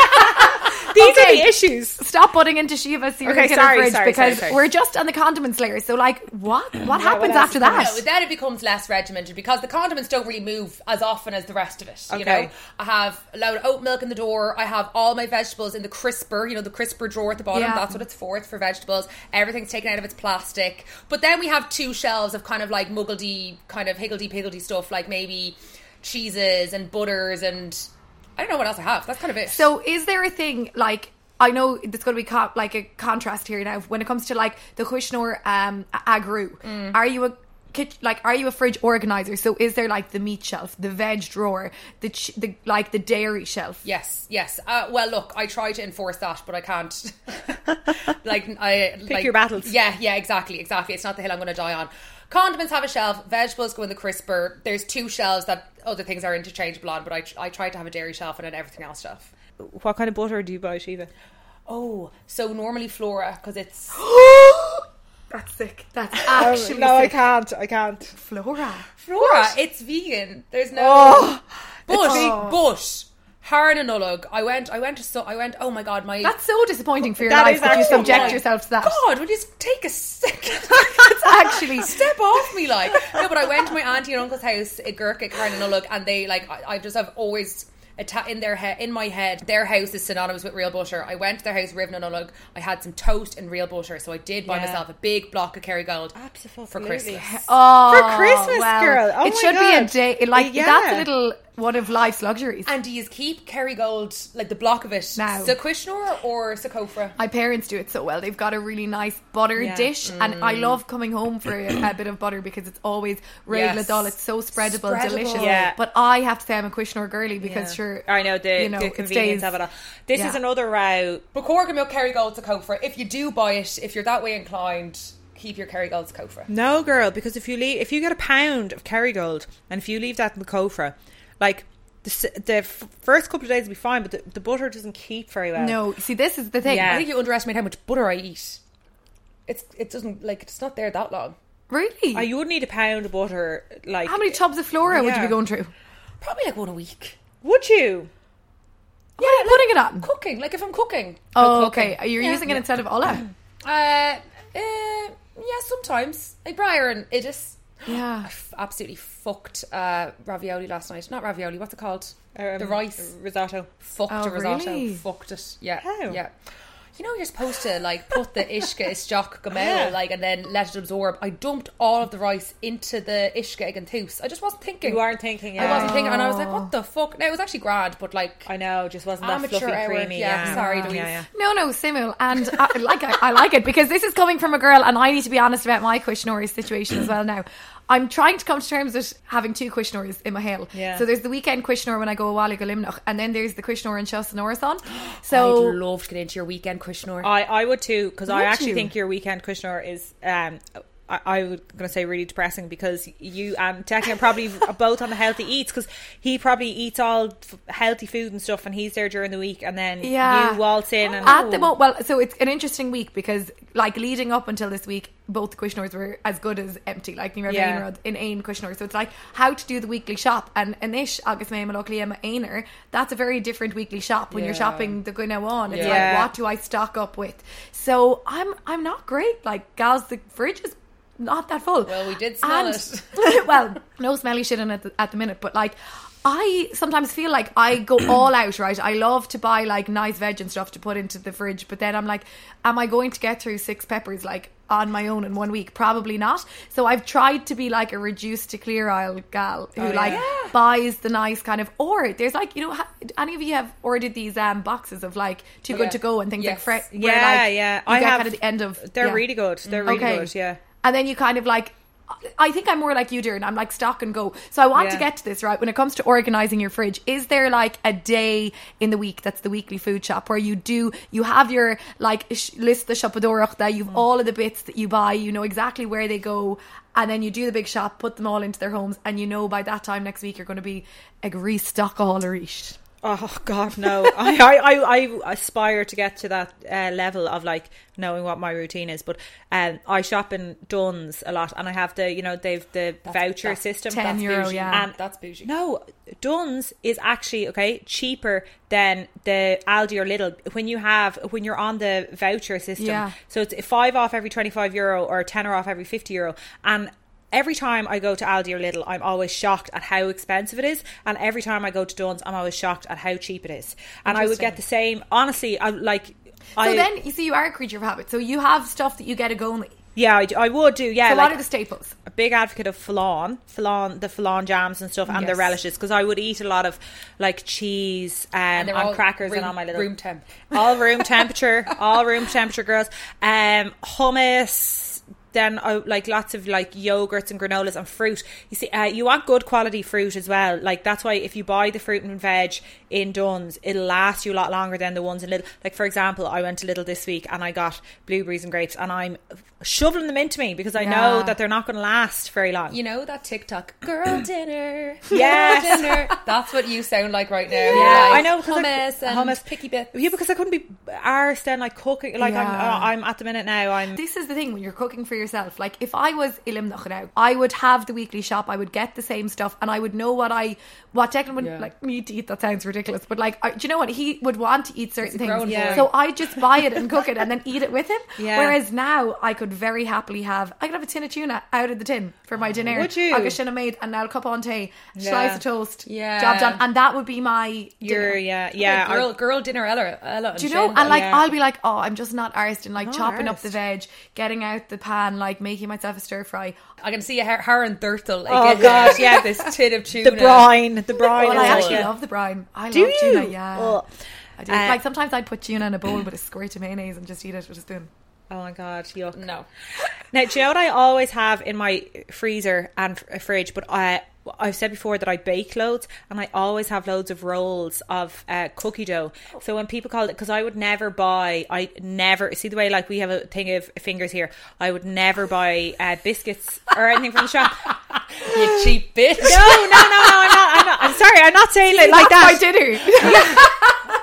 [SPEAKER 1] these are
[SPEAKER 3] Okay.
[SPEAKER 1] the issues.
[SPEAKER 3] Stop butting into Shiva's serial
[SPEAKER 1] Okay,
[SPEAKER 3] killer
[SPEAKER 1] sorry,
[SPEAKER 3] fridge
[SPEAKER 1] sorry,
[SPEAKER 3] because
[SPEAKER 1] sorry, sorry.
[SPEAKER 3] we're just on the condiments layer. So like, what what happens
[SPEAKER 1] else
[SPEAKER 3] after
[SPEAKER 1] is
[SPEAKER 3] that?
[SPEAKER 4] No, then it becomes less regimented because the condiments don't really move as often as the rest of it. You
[SPEAKER 1] Okay.
[SPEAKER 4] know, I have a load of oat milk in the door. I have all my vegetables in the crisper, you know, the crisper drawer at the bottom.
[SPEAKER 3] Yeah.
[SPEAKER 4] That's what it's for. It's for vegetables. Everything's taken out of its plastic. But then we have two shelves of kind of like muggledy, kind of higgledy piggledy stuff, like maybe cheeses and butters and I don't know what else I have. That's kind of it.
[SPEAKER 3] So is there a thing like I know there's going to be co-
[SPEAKER 1] Mm.
[SPEAKER 3] like a contrast here now when it comes to like the Kushnor um a- agru? Are you a kitch- like are you a fridge organizer? So is there like the meat shelf, the veg drawer, the ch- the like the dairy shelf?
[SPEAKER 4] Yes, yes. Uh, well, look, I try to enforce that, but I can't. like, I pick
[SPEAKER 1] your battles.
[SPEAKER 4] Yeah, yeah, exactly, exactly. It's not the hill I'm going to die on. Condiments have a shelf. Vegetables go in the crisper. There's two shelves that other things are interchangeable on, but I, I try to have a dairy shelf and an everything else shelf.
[SPEAKER 1] What kind of butter do you buy, Shiva?
[SPEAKER 4] Oh, so normally Flora because it's
[SPEAKER 3] That's sick. That's actually
[SPEAKER 1] Oh, No, I
[SPEAKER 3] sick.
[SPEAKER 1] can't. I can't.
[SPEAKER 3] Flora.
[SPEAKER 4] Flora. It's vegan. There's no. Oh, but but Haran and Ullug, I went. I went to. So, I went. Oh my god, my
[SPEAKER 3] That's so disappointing for your
[SPEAKER 1] That
[SPEAKER 3] life
[SPEAKER 1] is
[SPEAKER 3] that you
[SPEAKER 1] actually
[SPEAKER 3] subject
[SPEAKER 1] mine.
[SPEAKER 3] yourself to that.
[SPEAKER 4] God, would you just take a second?
[SPEAKER 3] It's actually
[SPEAKER 4] step off me, like. No, but I went to my auntie and uncle's house at Gurkha, Karen and Ullug, and they like. I, I just have always. atta- In their head, in my head, their house is synonymous with real butter. I went to their house, Riven and Ullug. I had some toast and real butter, so I did buy
[SPEAKER 1] Yeah.
[SPEAKER 4] myself a big block of Kerrygold for
[SPEAKER 1] Absolutely.
[SPEAKER 4] Christmas.
[SPEAKER 3] Oh,
[SPEAKER 1] For Christmas, girl. Oh
[SPEAKER 3] it
[SPEAKER 1] my
[SPEAKER 3] should be a
[SPEAKER 1] God.
[SPEAKER 3] day. it- Like
[SPEAKER 1] Yeah.
[SPEAKER 3] that's a little one of life's luxuries.
[SPEAKER 4] And do you keep Kerrygold, like the block of it,
[SPEAKER 3] No.
[SPEAKER 4] Sequishnor or Secofra?
[SPEAKER 3] My parents do it so well. They've got a really nice butter
[SPEAKER 1] Yeah. Mm.
[SPEAKER 3] dish, and I love coming home for a, a bit of butter because it's always
[SPEAKER 4] Yes.
[SPEAKER 3] raid ladol. It's so spreadable,
[SPEAKER 4] Spreadable.
[SPEAKER 3] delicious.
[SPEAKER 1] Yeah.
[SPEAKER 3] But I have to say I'm a Quishner girly because
[SPEAKER 1] Yeah.
[SPEAKER 3] sure,
[SPEAKER 1] I know the, the
[SPEAKER 3] it
[SPEAKER 1] convenience
[SPEAKER 3] stays-
[SPEAKER 1] of it all. This
[SPEAKER 3] Yeah.
[SPEAKER 1] is another row.
[SPEAKER 4] But Corgan milk Kerrygold Secofra. If you do buy it, if you're that way inclined, keep your Kerrygold Secofra.
[SPEAKER 1] No, girl, because if you leave, if you get a pound of Kerrygold and if you leave that in the cofra, like the, s- the f- first couple of days will be fine, but the, the butter doesn't keep very well.
[SPEAKER 3] No, see, this is the thing.
[SPEAKER 1] Yeah.
[SPEAKER 4] I think you underestimate how much butter I eat. It's it doesn't like it's not there that long.
[SPEAKER 3] Really,
[SPEAKER 1] I, you would need a pound of butter. Like
[SPEAKER 3] how many tubs of flora would you
[SPEAKER 1] Yeah.
[SPEAKER 3] be going through?
[SPEAKER 4] Probably like one a week.
[SPEAKER 1] Would you?
[SPEAKER 3] Yeah, putting it on.
[SPEAKER 4] Cooking, like if I'm cooking.
[SPEAKER 3] Oh,
[SPEAKER 4] I'll cook
[SPEAKER 3] okay.
[SPEAKER 4] it.
[SPEAKER 3] You're
[SPEAKER 4] Yeah.
[SPEAKER 3] using it instead of Ola.
[SPEAKER 4] Uh, uh, yeah, sometimes like Briar and Idis.
[SPEAKER 3] Yeah.
[SPEAKER 4] I f- absolutely fucked uh, ravioli last night. Not ravioli. What's it called?
[SPEAKER 1] Um,
[SPEAKER 4] the rice.
[SPEAKER 1] risotto.
[SPEAKER 4] fucked
[SPEAKER 3] Oh,
[SPEAKER 4] a risotto.
[SPEAKER 3] really?
[SPEAKER 4] Fucked it. Yeah.
[SPEAKER 1] How?
[SPEAKER 4] Yeah. You know you're supposed to like put the ishka ishjak gamel
[SPEAKER 1] Yeah.
[SPEAKER 4] like and then let it absorb. I dumped all of the rice into the ishka egganthus. I just wasn't thinking.
[SPEAKER 1] You aren't thinking.
[SPEAKER 4] I
[SPEAKER 1] yeah.
[SPEAKER 4] wasn't thinking, and I was like, "What the fuck?" No, it was actually grand, but like
[SPEAKER 1] Ah. I know, just wasn't that
[SPEAKER 4] amateur
[SPEAKER 1] fluffy,
[SPEAKER 4] hour.
[SPEAKER 1] creamy.
[SPEAKER 4] yeah, sorry, Louise.
[SPEAKER 1] yeah, yeah.
[SPEAKER 3] No, no, Simul, and I, like I, I like it because this is coming from a girl, and I need to be honest about my Quishnori situation as well. Now, I'm trying to come to terms with having two Quishnoris in my hill.
[SPEAKER 1] Yeah.
[SPEAKER 3] So there's the weekend Quishnor when I go awali golimnoch, and then there's the Quishnor in Shosanorathon.
[SPEAKER 4] I'd
[SPEAKER 3] So
[SPEAKER 4] love to get into your weekend Kushnor.
[SPEAKER 1] I, I would too because I
[SPEAKER 3] Would
[SPEAKER 1] actually
[SPEAKER 3] you?
[SPEAKER 1] think your weekend Kushner is um I, I was going to say really depressing because you um, and Techie are probably both on the healthy eats because he probably eats all f- healthy food and stuff and he's there during the week and then
[SPEAKER 3] yeah,
[SPEAKER 1] you waltz in and
[SPEAKER 3] at the moment, well, so it's an interesting week because like leading up until this week, both the Quishnors were as good as empty, like Nira
[SPEAKER 1] Yeah.
[SPEAKER 3] yeah. in Ain Kushnor. So it's like how to do the weekly shop and Anish Agus May Malokliema Ainer, that's a very different weekly shop when you're
[SPEAKER 4] Yeah.
[SPEAKER 3] shopping the Guna on. It's
[SPEAKER 1] Yeah.
[SPEAKER 3] like what do I stock up with? So I'm I'm not great. Like gals, the fridge is not that full.
[SPEAKER 4] Well, we did smell
[SPEAKER 3] it. well, no smelly shit in it at the, at the minute, but like I sometimes feel like I go all out, right? I love to buy like nice veg and stuff to put into the fridge, but then I'm like, am I going to get through six peppers like on my own in one week? Probably not. So I've tried to be like a reduced to clear aisle gal who
[SPEAKER 1] Oh,
[SPEAKER 3] like buys the nice kind of, or there's like, you know, ha- any of you have ordered these um boxes of like too good
[SPEAKER 4] yeah.
[SPEAKER 3] to go and things like
[SPEAKER 4] Yes.
[SPEAKER 3] fresh.
[SPEAKER 1] Oh, yeah yeah
[SPEAKER 3] I
[SPEAKER 1] I
[SPEAKER 3] get
[SPEAKER 1] have
[SPEAKER 3] kind of the end of
[SPEAKER 1] they're
[SPEAKER 3] yeah.
[SPEAKER 1] really good they're really good yeah
[SPEAKER 3] And then you kind of like, I think I'm more like you, Darren. I'm like stock and go. So I want to
[SPEAKER 1] Yeah.
[SPEAKER 3] get to this right. When it comes to organizing your fridge, is there like a day in the week that's the weekly food shop where you do you have your like sh- list the shopadorach that
[SPEAKER 1] Mm.
[SPEAKER 3] you've all of the bits that you buy, you know exactly where they go, and then you do the big shop, put them all into their homes, and you know by that time next week you're going to be a restock all reach.
[SPEAKER 1] Oh God, no! I, I, I, I aspire to get to that uh, level of like knowing what my routine is. But um, I shop in Dunn's a lot, and I have the you know they've the voucher
[SPEAKER 4] that's
[SPEAKER 1] system.
[SPEAKER 3] 10
[SPEAKER 1] That's
[SPEAKER 3] euro,
[SPEAKER 1] bougie.
[SPEAKER 3] yeah.
[SPEAKER 1] And
[SPEAKER 4] That's bougie.
[SPEAKER 1] No, Dunn's is actually okay cheaper than the Aldi or Lidl when you have when you're on the voucher system.
[SPEAKER 3] Yeah.
[SPEAKER 1] So it's five off every twenty five euro or ten off every fifty euro, and every time I go to Aldi or Lidl, I'm always shocked at how expensive it is, and every time I go to Dunn's, I'm always shocked at how cheap it is. And I would get the same. Honestly, I like.
[SPEAKER 3] So
[SPEAKER 1] I,
[SPEAKER 3] then you see you are a creature of habit. So you have stuff that you get a go with.
[SPEAKER 1] yeah, I, d- I would do. Yeah,
[SPEAKER 3] So
[SPEAKER 1] like,
[SPEAKER 3] what are the staples?
[SPEAKER 1] a big advocate of flan, flan, the flan jams and stuff, and the
[SPEAKER 4] Yes.
[SPEAKER 1] relishes because I would eat a lot of like cheese um,
[SPEAKER 4] they're all
[SPEAKER 1] on crackers
[SPEAKER 4] room-
[SPEAKER 1] and on my little
[SPEAKER 4] room temp.
[SPEAKER 1] all room temperature, all room temperature, girls. Um, hummus, then I like lots of like yogurts and granolas and fruit. You see, uh, you want good quality fruit as well. Like that's why if you buy the fruit and veg in Dunn's, it'll last you a lot longer than the ones in Little. Like for example, I went to Little this week and I got blueberries and grapes, and I'm shoveling them into me because I know
[SPEAKER 3] Yeah.
[SPEAKER 1] that they're not going to last very long.
[SPEAKER 4] You know that TikTok girl dinner.
[SPEAKER 1] Yes.
[SPEAKER 4] Girl dinner. That's what you sound like right now.
[SPEAKER 1] Yeah,
[SPEAKER 4] Like
[SPEAKER 1] I know. 'cause I-
[SPEAKER 4] Hummus and picky bits.
[SPEAKER 1] Yeah, because I couldn't be arsed then like cooking. Like
[SPEAKER 3] Yeah.
[SPEAKER 1] I'm, uh, I'm at the minute now. I'm
[SPEAKER 3] This is the thing when you're cooking for yourself. Like if I was Ilim Nachrau, I would have the weekly shop. I would get the same stuff, and I would know what I what Declan would
[SPEAKER 4] Yeah.
[SPEAKER 3] like me to eat. That sounds ridiculous, but like, I, do you know what he would want to eat certain
[SPEAKER 4] grown
[SPEAKER 3] things?
[SPEAKER 4] boy.
[SPEAKER 3] So I just buy it and cook it, and then eat it with him.
[SPEAKER 1] Yeah.
[SPEAKER 3] Whereas now I could very happily have I could have a tin of tuna out of the tin for my dinner.
[SPEAKER 1] Oh, Would you?
[SPEAKER 3] Agus sinna maid and now cup on tea, slice
[SPEAKER 1] Yeah.
[SPEAKER 3] of toast,
[SPEAKER 4] Yeah.
[SPEAKER 3] job done, and that would be my
[SPEAKER 1] you're
[SPEAKER 3] dinner.
[SPEAKER 1] yeah
[SPEAKER 4] Yeah,
[SPEAKER 1] yeah.
[SPEAKER 4] girl,
[SPEAKER 1] I-
[SPEAKER 4] girl dinner. Ella, Ella
[SPEAKER 3] Do you know?
[SPEAKER 4] Shin,
[SPEAKER 3] And like,
[SPEAKER 1] yeah.
[SPEAKER 3] I'll be like, oh, I'm just not arsed in like
[SPEAKER 1] Not
[SPEAKER 3] chopping up
[SPEAKER 1] arsed.
[SPEAKER 3] the veg, getting out the pan, like making myself a stir fry.
[SPEAKER 4] I can see her, her and Thurtle. Like,
[SPEAKER 1] Oh,
[SPEAKER 4] in
[SPEAKER 1] God,
[SPEAKER 4] the-
[SPEAKER 1] yeah.
[SPEAKER 4] this tin of tuna.
[SPEAKER 1] the brine, the brine.
[SPEAKER 3] Well,
[SPEAKER 1] is
[SPEAKER 3] I
[SPEAKER 1] like,
[SPEAKER 3] actually
[SPEAKER 1] yeah.
[SPEAKER 3] love the brine. I
[SPEAKER 1] Do
[SPEAKER 3] love tuna.
[SPEAKER 1] you?
[SPEAKER 3] Yeah,
[SPEAKER 1] Oh.
[SPEAKER 3] I do.
[SPEAKER 1] Uh,
[SPEAKER 3] like sometimes I'd put tuna in a bowl with a squirt of mayonnaise and just eat it with a spoon.
[SPEAKER 1] Oh my god, yuck.
[SPEAKER 4] No,
[SPEAKER 1] Now, do you know what I always have in my freezer and fr- fridge? But I, I've said before that I bake loads, and I always have loads of rolls of uh, cookie dough. So when people call it, because I would never buy, I never see the way like we have a thing of fingers here. I would never buy uh, biscuits or anything from the shop.
[SPEAKER 4] you cheap bitch.
[SPEAKER 1] No, no, no, no, I'm not. I'm, not, I'm sorry, I'm not saying it like that.
[SPEAKER 3] That's my dinner.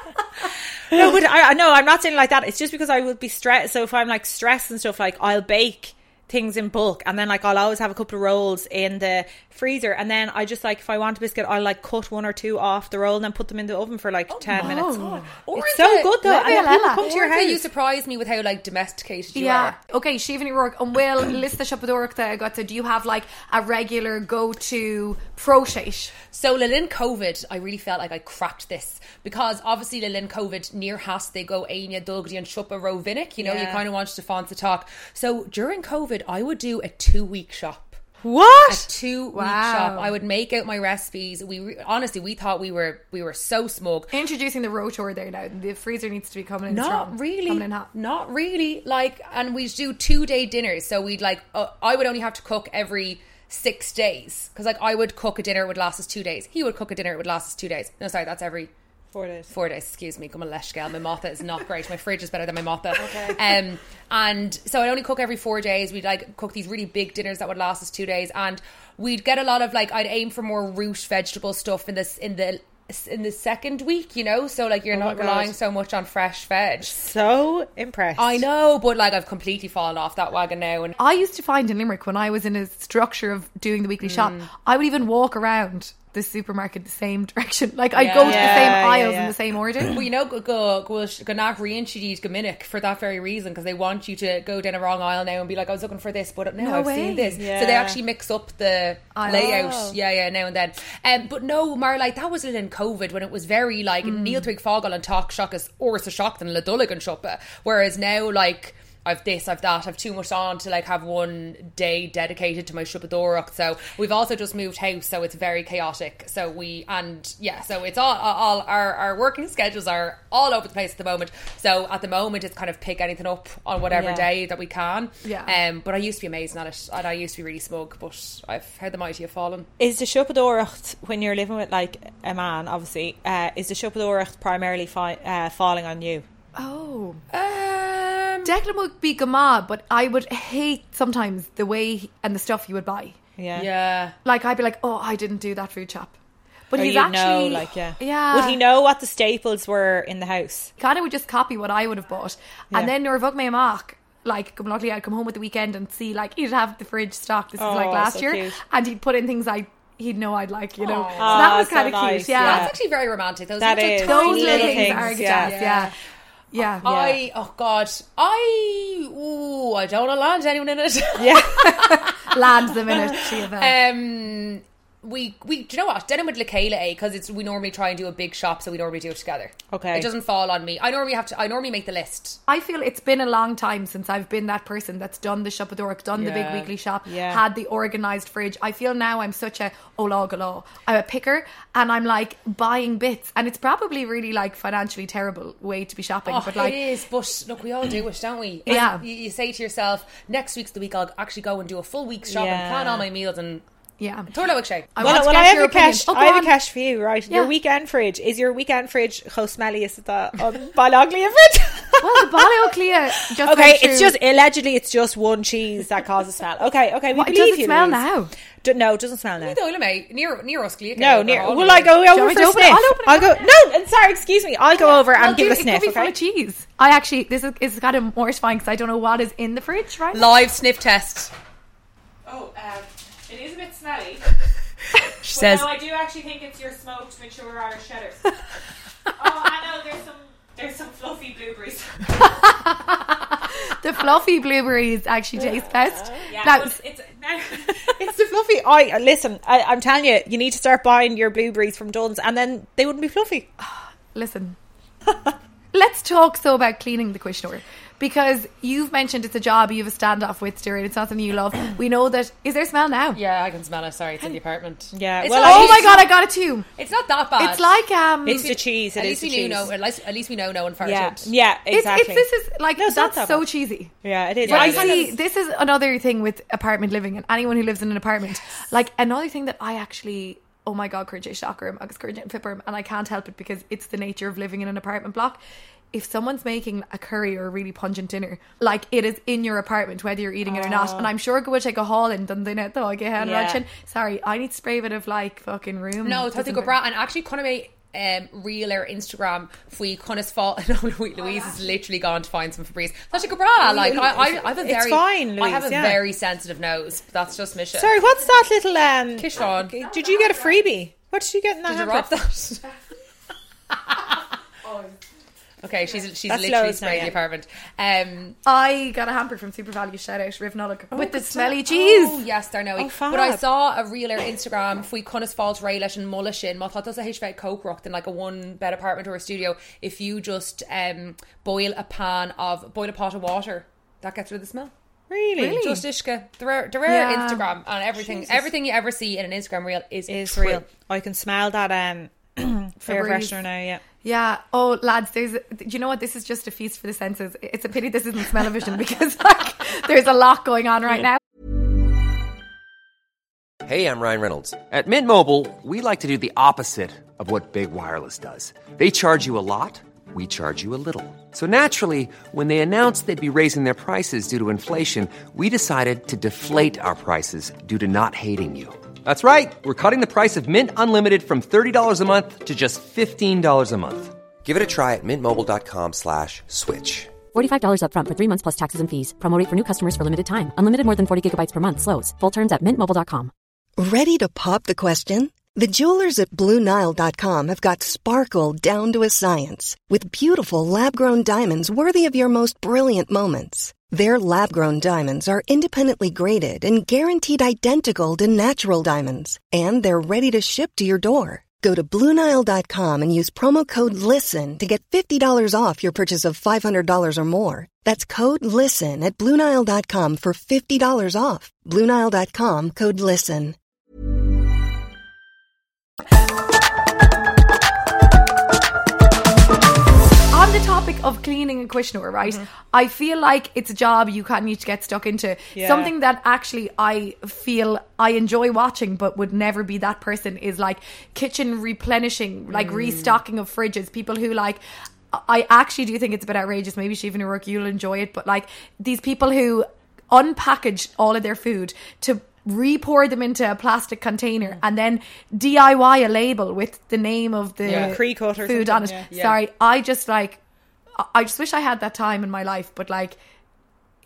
[SPEAKER 1] No, but I I- no, I'm not saying like that. It's just because I would be stressed. So if I'm like stressed and stuff, like I'll bake things in bulk, and then like I'll always have a couple of rolls in the freezer, and then I just like if I want a biscuit, I'll like cut one or two off the roll and then put them in the oven for like
[SPEAKER 3] Oh
[SPEAKER 1] ten minutes.
[SPEAKER 4] Or
[SPEAKER 1] It's
[SPEAKER 4] is
[SPEAKER 1] so
[SPEAKER 4] it-
[SPEAKER 1] good though,
[SPEAKER 4] maybe
[SPEAKER 1] and then
[SPEAKER 3] I'll
[SPEAKER 1] people
[SPEAKER 3] have
[SPEAKER 1] come
[SPEAKER 3] it.
[SPEAKER 1] to
[SPEAKER 4] Or
[SPEAKER 1] your
[SPEAKER 4] do you
[SPEAKER 1] house.
[SPEAKER 4] surprise me with how like domesticated you
[SPEAKER 3] yeah.
[SPEAKER 4] are.
[SPEAKER 3] Okay, Shivani Rourke and Will list the shop of that I got to. Do you have like a regular go-to prochet?
[SPEAKER 4] So Lilin COVID, I really felt like I cracked this because obviously Lilin COVID near has they go Aina Dugdy and Shuppa Rovinic, you know, you
[SPEAKER 1] Yeah.
[SPEAKER 4] kind of wanted to font the talk. So during COVID, I would do a two week shop. a
[SPEAKER 1] What?
[SPEAKER 4] two week
[SPEAKER 3] Wow.
[SPEAKER 4] shop. I would make out my recipes. We re- honestly, we thought we were we were so smug.
[SPEAKER 3] Introducing the rotor there now. The freezer needs to be coming in strong.
[SPEAKER 4] Not really.
[SPEAKER 3] Coming in hot.
[SPEAKER 4] Not really. Like, and we'd do two day dinners. So we'd like, uh, I would only have to cook every six days because like I would cook a dinner it would last us two days. He would cook a dinner it would last us two days. No, sorry, that's every
[SPEAKER 1] Four days.
[SPEAKER 4] four days. Excuse me, come on, Leshgal. My motha is not great. My fridge is better than my motha. Okay. Um, and so I only cook every four days. We'd like cook these really big dinners that would last us two days, and we'd get a lot of like I'd aim for more root vegetable stuff in this in the in the second week, you know. So like you're not
[SPEAKER 1] God.
[SPEAKER 4] relying so much on fresh veg.
[SPEAKER 1] So impressed.
[SPEAKER 4] I know, but like I've completely fallen off that wagon now, and
[SPEAKER 3] I used to find in Limerick when I was in a structure of doing the weekly
[SPEAKER 1] Mm.
[SPEAKER 3] shop, I would even walk around the supermarket the same direction. Like I'd go to
[SPEAKER 1] Yeah.
[SPEAKER 3] the same
[SPEAKER 1] Yeah,
[SPEAKER 3] aisles
[SPEAKER 1] yeah,
[SPEAKER 3] in
[SPEAKER 1] yeah.
[SPEAKER 3] the same order.
[SPEAKER 4] Well, you know, go go go go not reintroduce Gaminic for that very reason because they want you to go down a wrong aisle now and be like, I was looking for this, but no,
[SPEAKER 3] No
[SPEAKER 4] I've
[SPEAKER 3] way.
[SPEAKER 4] seen this. So they
[SPEAKER 1] Yeah.
[SPEAKER 4] actually mix up the
[SPEAKER 3] Aisles.
[SPEAKER 4] layout.
[SPEAKER 1] Oh.
[SPEAKER 4] Yeah, yeah, now and then. Um, but no, Mar, like that was in COVID when it was very like
[SPEAKER 1] Hmm.
[SPEAKER 4] Neil Twig Fogel and Talk Shock is or it's a shock than Ladulligan Shoppa. Whereas now, like. I've this, I've that, I've too much on to like have one day dedicated to my Shupadorok. So we've also just moved house, so it's very chaotic. So we and yeah, so it's all all our, our working schedules are all over the place at the moment. So at the moment, it's kind of pick anything up on whatever
[SPEAKER 1] Yeah.
[SPEAKER 4] day that we can.
[SPEAKER 3] Yeah.
[SPEAKER 4] Um, but I used to be amazing at it, and I used to be really smug. But I've heard the mighty have fallen.
[SPEAKER 1] Is the Shopadorach, when you're living with like a man, obviously, uh, is the Shopadorach primarily fi- uh, falling on you?
[SPEAKER 3] Oh.
[SPEAKER 4] Um,
[SPEAKER 3] Declan would be Gamad, but I would hate sometimes the way he- and the stuff he would buy.
[SPEAKER 1] Yeah.
[SPEAKER 4] yeah.
[SPEAKER 3] Like I'd be like, oh, I didn't do that food shop. But
[SPEAKER 1] Or
[SPEAKER 3] he's
[SPEAKER 1] you
[SPEAKER 3] actually
[SPEAKER 1] know, like yeah,
[SPEAKER 3] yeah.
[SPEAKER 1] Would he know what the staples were in the house?
[SPEAKER 3] kind of would just copy what I would have bought.
[SPEAKER 1] Yeah.
[SPEAKER 3] And then Nora Vug May Mark, like, come luckily I'd come home at the weekend and see, like, he'd have the fridge stocked. This is like
[SPEAKER 1] Oh,
[SPEAKER 3] last
[SPEAKER 1] so
[SPEAKER 3] year.
[SPEAKER 1] cute.
[SPEAKER 3] And he'd put in things I he'd know I'd like, you know.
[SPEAKER 4] Aw.
[SPEAKER 3] So that
[SPEAKER 1] Aw,
[SPEAKER 3] was
[SPEAKER 1] Ah, so
[SPEAKER 3] kind of
[SPEAKER 1] nice,
[SPEAKER 3] cute. Yeah.
[SPEAKER 1] yeah.
[SPEAKER 4] That's actually very romantic. Those
[SPEAKER 1] That
[SPEAKER 4] little
[SPEAKER 1] is.
[SPEAKER 4] tiny
[SPEAKER 3] Those little things,
[SPEAKER 1] things,
[SPEAKER 3] are good
[SPEAKER 1] yeah.
[SPEAKER 3] stuff, yeah. Yeah. yeah.
[SPEAKER 4] I oh god I ooh I don't want to land anyone in it.
[SPEAKER 1] Yeah.
[SPEAKER 3] Lands them in it. She
[SPEAKER 4] Um, we we do you know what denim with Lakayla eh? because it's we normally try and do a big shop so we normally do it together.
[SPEAKER 1] Okay.
[SPEAKER 4] it doesn't fall on me. I normally have to. I normally make the list.
[SPEAKER 3] I feel it's been a long time since I've been that person that's done the shop Shopadoric, done the big
[SPEAKER 4] Yeah.
[SPEAKER 3] weekly shop,
[SPEAKER 1] Yeah.
[SPEAKER 3] had the organized fridge. I feel now I'm such a olagalo. I'm a picker and I'm like buying bits. And it's probably really like financially terrible way to be shopping.
[SPEAKER 4] Oh,
[SPEAKER 3] but like
[SPEAKER 4] it is. But look, we all do it, don't we?
[SPEAKER 3] Yeah.
[SPEAKER 4] And You, you say to yourself, next week's the week I'll actually go and do a full week's shop
[SPEAKER 1] Yeah.
[SPEAKER 4] and plan all my meals and
[SPEAKER 3] yeah.
[SPEAKER 4] Torlo milkshake.
[SPEAKER 3] I want
[SPEAKER 1] Well,
[SPEAKER 3] to
[SPEAKER 1] well,
[SPEAKER 3] get
[SPEAKER 1] I have
[SPEAKER 3] your
[SPEAKER 1] a cash.
[SPEAKER 3] opinion. Oh, go
[SPEAKER 1] I have
[SPEAKER 3] on.
[SPEAKER 1] a cash for you, right?
[SPEAKER 3] Yeah.
[SPEAKER 1] Your weekend fridge is your weekend fridge. How smelly is the um, Balaglia fridge?
[SPEAKER 3] Well, the Ballyoclea just
[SPEAKER 1] okay,
[SPEAKER 3] went
[SPEAKER 1] it's
[SPEAKER 3] through-
[SPEAKER 1] just allegedly it's just one cheese that causes smell. Okay, okay, we
[SPEAKER 3] What, it
[SPEAKER 1] believe
[SPEAKER 3] doesn't
[SPEAKER 1] you.
[SPEAKER 3] smell
[SPEAKER 1] Louise.
[SPEAKER 3] now.
[SPEAKER 1] D- no, it doesn't smell now.
[SPEAKER 4] No, look, mate, near near us, Gleagan,
[SPEAKER 1] No,
[SPEAKER 4] over
[SPEAKER 1] near.
[SPEAKER 4] all
[SPEAKER 1] Will
[SPEAKER 4] the
[SPEAKER 1] I go
[SPEAKER 4] way.
[SPEAKER 3] you
[SPEAKER 1] over
[SPEAKER 3] want
[SPEAKER 1] for
[SPEAKER 3] me
[SPEAKER 1] a
[SPEAKER 3] to open it?
[SPEAKER 1] sniff?
[SPEAKER 3] I'll open it.
[SPEAKER 1] I'll go. No, and sorry, excuse me. I'll go over
[SPEAKER 3] Well,
[SPEAKER 1] and give
[SPEAKER 3] dude,
[SPEAKER 1] it a sniff.
[SPEAKER 3] It could be full
[SPEAKER 1] Okay.
[SPEAKER 3] of cheese. I actually this is it's kind of mortifying because I don't know what is in the fridge, right?
[SPEAKER 4] live sniff test.
[SPEAKER 1] Oh, um, it is a bit smelly.
[SPEAKER 4] She says,
[SPEAKER 1] do actually think it's your smoked mature Irish cheddar. oh, I know. There's some. There's some fluffy blueberries.
[SPEAKER 3] the fluffy blueberries actually taste best. Now,
[SPEAKER 1] it's, it's the fluffy. I listen. I, I'm telling you, you need to start buying your blueberries from Dunn's, and then they wouldn't be fluffy.
[SPEAKER 3] listen. Let's talk so about cleaning the Quishnor because you've mentioned it's a job you have a standoff with, Stuart. It's not something you love. We know that. Is there smell now?
[SPEAKER 4] "Yeah, I can smell it. Sorry, it's in the apartment.
[SPEAKER 1] Yeah,
[SPEAKER 4] It's
[SPEAKER 1] well,
[SPEAKER 4] not
[SPEAKER 1] at
[SPEAKER 3] Oh
[SPEAKER 4] like-
[SPEAKER 3] my god, I got it too.
[SPEAKER 4] It's not that bad.
[SPEAKER 3] It's like um,
[SPEAKER 1] It's the cheese. It
[SPEAKER 4] at
[SPEAKER 1] is
[SPEAKER 4] least
[SPEAKER 1] the
[SPEAKER 4] we
[SPEAKER 1] cheese.
[SPEAKER 4] knew no. At least, at least we know no one farted.
[SPEAKER 1] yeah, yeah,
[SPEAKER 3] it's,
[SPEAKER 1] exactly.
[SPEAKER 3] it's this is like
[SPEAKER 1] No, it's not that
[SPEAKER 3] that's so
[SPEAKER 1] bad.
[SPEAKER 3] cheesy.
[SPEAKER 1] yeah, it is.
[SPEAKER 4] Yeah,
[SPEAKER 1] I
[SPEAKER 4] it
[SPEAKER 1] think
[SPEAKER 3] See,
[SPEAKER 1] it's-
[SPEAKER 3] this is another thing with apartment living and anyone who lives in an apartment. Like another thing that I actually oh my god, cringe shocker agus cringe fipperm and I can't help it because it's the nature of living in an apartment block. If someone's making a curry or a really pungent dinner, like it is in your apartment, whether you're eating it or not, and
[SPEAKER 4] Oh.
[SPEAKER 3] I'm sure go take a haul in Dundee though I get hand
[SPEAKER 1] Yeah.
[SPEAKER 3] watching. Sorry, I need to spray a bit of like fucking room.
[SPEAKER 4] No, it's go bra and actually kind of a um, reel or Instagram fui kind of spot. No, Louise,
[SPEAKER 1] Oh,
[SPEAKER 4] Louise has literally gone to find some Febreze. That's a good bra. Like I, I, I have a
[SPEAKER 1] It's
[SPEAKER 4] very,
[SPEAKER 1] fine,
[SPEAKER 4] I have a
[SPEAKER 1] Louise, yeah.
[SPEAKER 4] very sensitive nose. That's just my shit.
[SPEAKER 1] sorry, what's that little um?
[SPEAKER 4] Kishon, did
[SPEAKER 1] Did you get a freebie? What did you get in that
[SPEAKER 4] you
[SPEAKER 1] hamper?
[SPEAKER 4] rob that? okay, she's she's
[SPEAKER 1] That's
[SPEAKER 4] literally
[SPEAKER 1] loads now,
[SPEAKER 4] sprayed the
[SPEAKER 1] yeah.
[SPEAKER 4] apartment. Um,
[SPEAKER 3] I got a hamper from Super Value shout out Riv Nullock with the smelly cheese.
[SPEAKER 4] Oh, yes, they're knowing.
[SPEAKER 1] Oh,
[SPEAKER 4] but I
[SPEAKER 1] fab.
[SPEAKER 4] saw a reel or Instagram fwy conas fáilt ré leis an mulla sin, má tá a E HVed cokerocht in like a one bed apartment or a studio if you just um, boil a pan of boil a pot of water. That gets rid of the smell.
[SPEAKER 1] Really?
[SPEAKER 4] Just ishka. The rare, the rare
[SPEAKER 3] Yeah.
[SPEAKER 4] Instagram and everything everything you ever see in an Instagram reel is,
[SPEAKER 1] Is
[SPEAKER 4] true.
[SPEAKER 1] real. I can smell that um fair
[SPEAKER 3] Febreze.
[SPEAKER 1] freshener now. Yeah.
[SPEAKER 3] Yeah. Oh, lads, there's. Do you know what? This is just a feast for the senses. It's a pity this isn't smell-o-vision because like there's a lot going on right now.
[SPEAKER 5] Hey, I'm Ryan Reynolds. At Mint Mobile, we like to do the opposite of what Big Wireless does. They charge you a lot, we charge you a little. So naturally, when they announced they'd be raising their prices due to inflation, we decided to deflate our prices due to not hating you. That's right. We're cutting the price of Mint Unlimited from $30 a month to just $15 a month. Give it a try at mintmobile.com slash switch.
[SPEAKER 6] $45 upfront for three months plus taxes and fees. Promo rate for new customers for limited time. Unlimited more than 40 gigabytes per month. Slows. Full terms at mintmobile.com.
[SPEAKER 7] Ready to pop the question? The jewelers at BlueNile.com have got sparkle down to a science with beautiful lab grown diamonds worthy of your most brilliant moments. Their lab grown diamonds are independently graded and guaranteed identical to natural diamonds, and they're ready to ship to your door. Go to BlueNile.com and use promo code LISTEN to get $50 off your purchase of $500 or more. That's code LISTEN at BlueNile.com for $50 off. BlueNile.com code LISTEN.
[SPEAKER 3] On the topic of cleaning and Quishnor, right?
[SPEAKER 1] Mm-hmm.
[SPEAKER 3] I feel like it's a job you kind of need to get stuck into.
[SPEAKER 1] Yeah.
[SPEAKER 3] Something that actually I feel I enjoy watching, but would never be that person is like kitchen replenishing,
[SPEAKER 1] Mm.
[SPEAKER 3] like restocking of fridges. People who like. I actually do think it's a bit outrageous. Maybe Shiva O'Rourke, you'll enjoy it, but like these people who unpackage all of their food to re-pour them into a plastic container
[SPEAKER 1] Mm.
[SPEAKER 3] and then DIY a label with the name of the
[SPEAKER 4] Yeah.
[SPEAKER 1] Pre-cut or
[SPEAKER 3] food
[SPEAKER 1] something,
[SPEAKER 3] on it.
[SPEAKER 1] yeah.
[SPEAKER 4] Yeah.
[SPEAKER 3] Sorry, I just like I- I just wish I had that time in my life, but like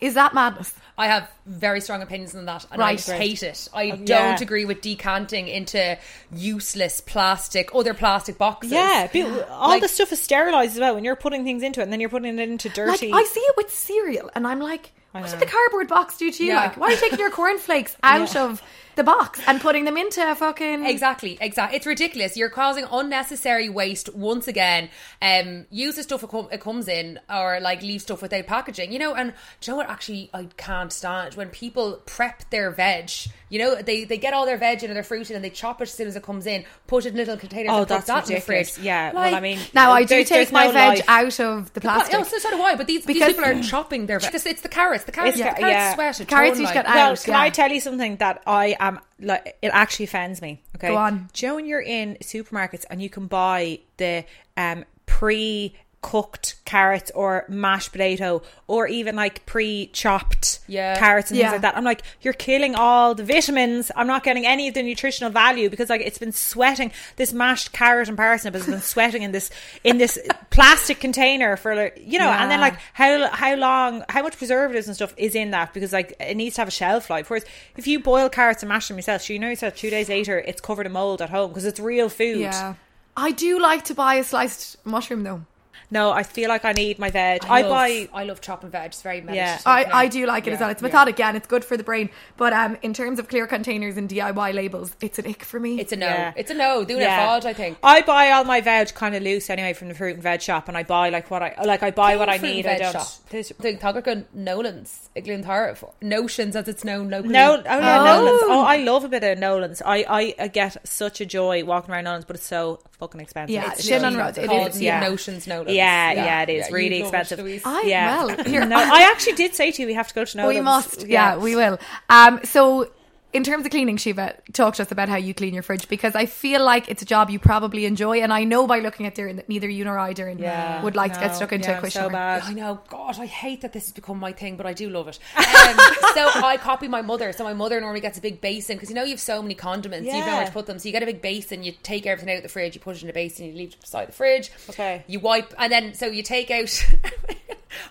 [SPEAKER 3] is that madness?
[SPEAKER 4] I have very strong opinions on that, and I
[SPEAKER 3] Right.
[SPEAKER 4] just hate it. I don't
[SPEAKER 1] Yeah.
[SPEAKER 4] agree with decanting into useless plastic, other plastic boxes.
[SPEAKER 1] Yeah, but all
[SPEAKER 4] Like-
[SPEAKER 1] the stuff is sterilized as well. When you're putting things into it, and then you're putting it into
[SPEAKER 3] Like
[SPEAKER 1] dirty.
[SPEAKER 3] I see it with cereal and I'm like, what did
[SPEAKER 1] know.
[SPEAKER 3] the cardboard box do to you?
[SPEAKER 4] Yeah.
[SPEAKER 3] Like, why are you taking your cornflakes out of the box and putting them into a fucking
[SPEAKER 2] Exactly, exactly. It's ridiculous. You're causing unnecessary waste once again. Um, use the stuff it, com- it comes in, or like leave stuff without packaging. You know, and do you know what? Actually, I can't stand when people prep their veg. You know, they they get all their veg in and their fruit in, and they chop it as soon as it comes in, put it in little containers.
[SPEAKER 8] Oh,
[SPEAKER 2] and put
[SPEAKER 8] that's
[SPEAKER 2] that
[SPEAKER 8] ridiculous.
[SPEAKER 2] In the fridge.
[SPEAKER 8] Yeah.
[SPEAKER 2] Like,
[SPEAKER 8] well, I mean,
[SPEAKER 3] Now I do
[SPEAKER 8] there's-
[SPEAKER 3] take
[SPEAKER 8] there's
[SPEAKER 3] my
[SPEAKER 8] no
[SPEAKER 3] veg
[SPEAKER 8] life.
[SPEAKER 3] out of the
[SPEAKER 2] But,
[SPEAKER 3] plastic.
[SPEAKER 2] oh, so, so do I. But these, these
[SPEAKER 3] Because-
[SPEAKER 2] people are chopping their veg. It's, it's the carrots. The carrots.
[SPEAKER 8] It's
[SPEAKER 2] the
[SPEAKER 8] ca-
[SPEAKER 2] carrots
[SPEAKER 8] yeah.
[SPEAKER 2] sweat. a
[SPEAKER 3] Carrots
[SPEAKER 2] ton,
[SPEAKER 3] you've
[SPEAKER 2] like-
[SPEAKER 3] got
[SPEAKER 2] Well,
[SPEAKER 8] Well,
[SPEAKER 3] out,
[SPEAKER 8] can
[SPEAKER 3] yeah.
[SPEAKER 8] I tell you something that I am like? It actually offends me. Okay,
[SPEAKER 3] Go on.
[SPEAKER 8] Joe, when you're in supermarkets and you can buy the um pre cooked carrots or mashed potato or even like pre-chopped
[SPEAKER 2] Yeah.
[SPEAKER 8] carrots and
[SPEAKER 3] Yeah.
[SPEAKER 8] things like that i'm like you're killing all the vitamins i'm not getting any of the nutritional value because like it's been sweating this mashed carrot and parsnip has been sweating in this in this plastic container for like you know and then
[SPEAKER 3] Yeah.
[SPEAKER 8] like how how long how much preservatives and stuff is in that because like it needs to have a shelf life whereas if you boil carrots and mash them yourself so you know yourself two days later it's covered in mold at home because it's real food
[SPEAKER 3] yeah. I do like to buy a sliced mushroom though.
[SPEAKER 8] no i feel like i need my veg i,
[SPEAKER 2] I, love,
[SPEAKER 8] buy
[SPEAKER 2] I love chopping veg. It's very medic-
[SPEAKER 8] Yeah.
[SPEAKER 3] I,
[SPEAKER 2] something
[SPEAKER 3] I do like it as
[SPEAKER 2] yeah,
[SPEAKER 3] well. It's
[SPEAKER 2] yeah.
[SPEAKER 3] methodic yeah, and it's good for the brain. But um, in terms of clear containers and DIY labels, it's an ick for me.
[SPEAKER 2] It's a no.
[SPEAKER 8] Yeah.
[SPEAKER 2] It's a no. Doing yeah. it fod, I think.
[SPEAKER 8] I buy all my veg kind of loose anyway from the fruit and veg shop, and I buy like what I like. I buy what I
[SPEAKER 2] Fruit and
[SPEAKER 8] need. I
[SPEAKER 2] veg
[SPEAKER 8] don't.
[SPEAKER 2] shop. There's the Toggergan Nolan's Iglintar notions as it's known locally.
[SPEAKER 8] No, oh yeah,
[SPEAKER 3] Oh.
[SPEAKER 8] Nolan's. Oh, I love a bit of Nolan's. I, I I get such a joy walking around Nolan's, but it's so fucking expensive.
[SPEAKER 3] Yeah, it's
[SPEAKER 2] Literally
[SPEAKER 3] Shin on roads. It
[SPEAKER 2] called
[SPEAKER 3] is.
[SPEAKER 8] yeah.
[SPEAKER 2] Notions Nolan's.
[SPEAKER 8] Yeah, yeah, it is
[SPEAKER 2] you
[SPEAKER 8] really
[SPEAKER 2] go,
[SPEAKER 8] expensive.
[SPEAKER 2] Louise.
[SPEAKER 3] I
[SPEAKER 8] yeah.
[SPEAKER 3] well here
[SPEAKER 8] no, I actually did say to you we have to go to Nolan's.
[SPEAKER 3] we must. Yeah, we will. Um, so in terms of cleaning, Shiva, talk to us about how you clean your fridge because I feel like it's a job you probably enjoy, and I know by looking at Darren that neither you nor I, Darren, would like to
[SPEAKER 8] No,
[SPEAKER 3] get stuck into
[SPEAKER 8] yeah,
[SPEAKER 3] a
[SPEAKER 8] I'm
[SPEAKER 3] question.
[SPEAKER 8] so bad.
[SPEAKER 2] I know. God, I hate that this has become my thing, but I do love it. Um, so I copy my mother. So my mother normally gets a big basin because you know you have so many condiments, you don't know where
[SPEAKER 8] Yeah.
[SPEAKER 2] to put them. So you get a big basin, you take everything out of the fridge, you put it in a basin, you leave it beside the fridge.
[SPEAKER 8] Okay.
[SPEAKER 2] You wipe, and then so you take out.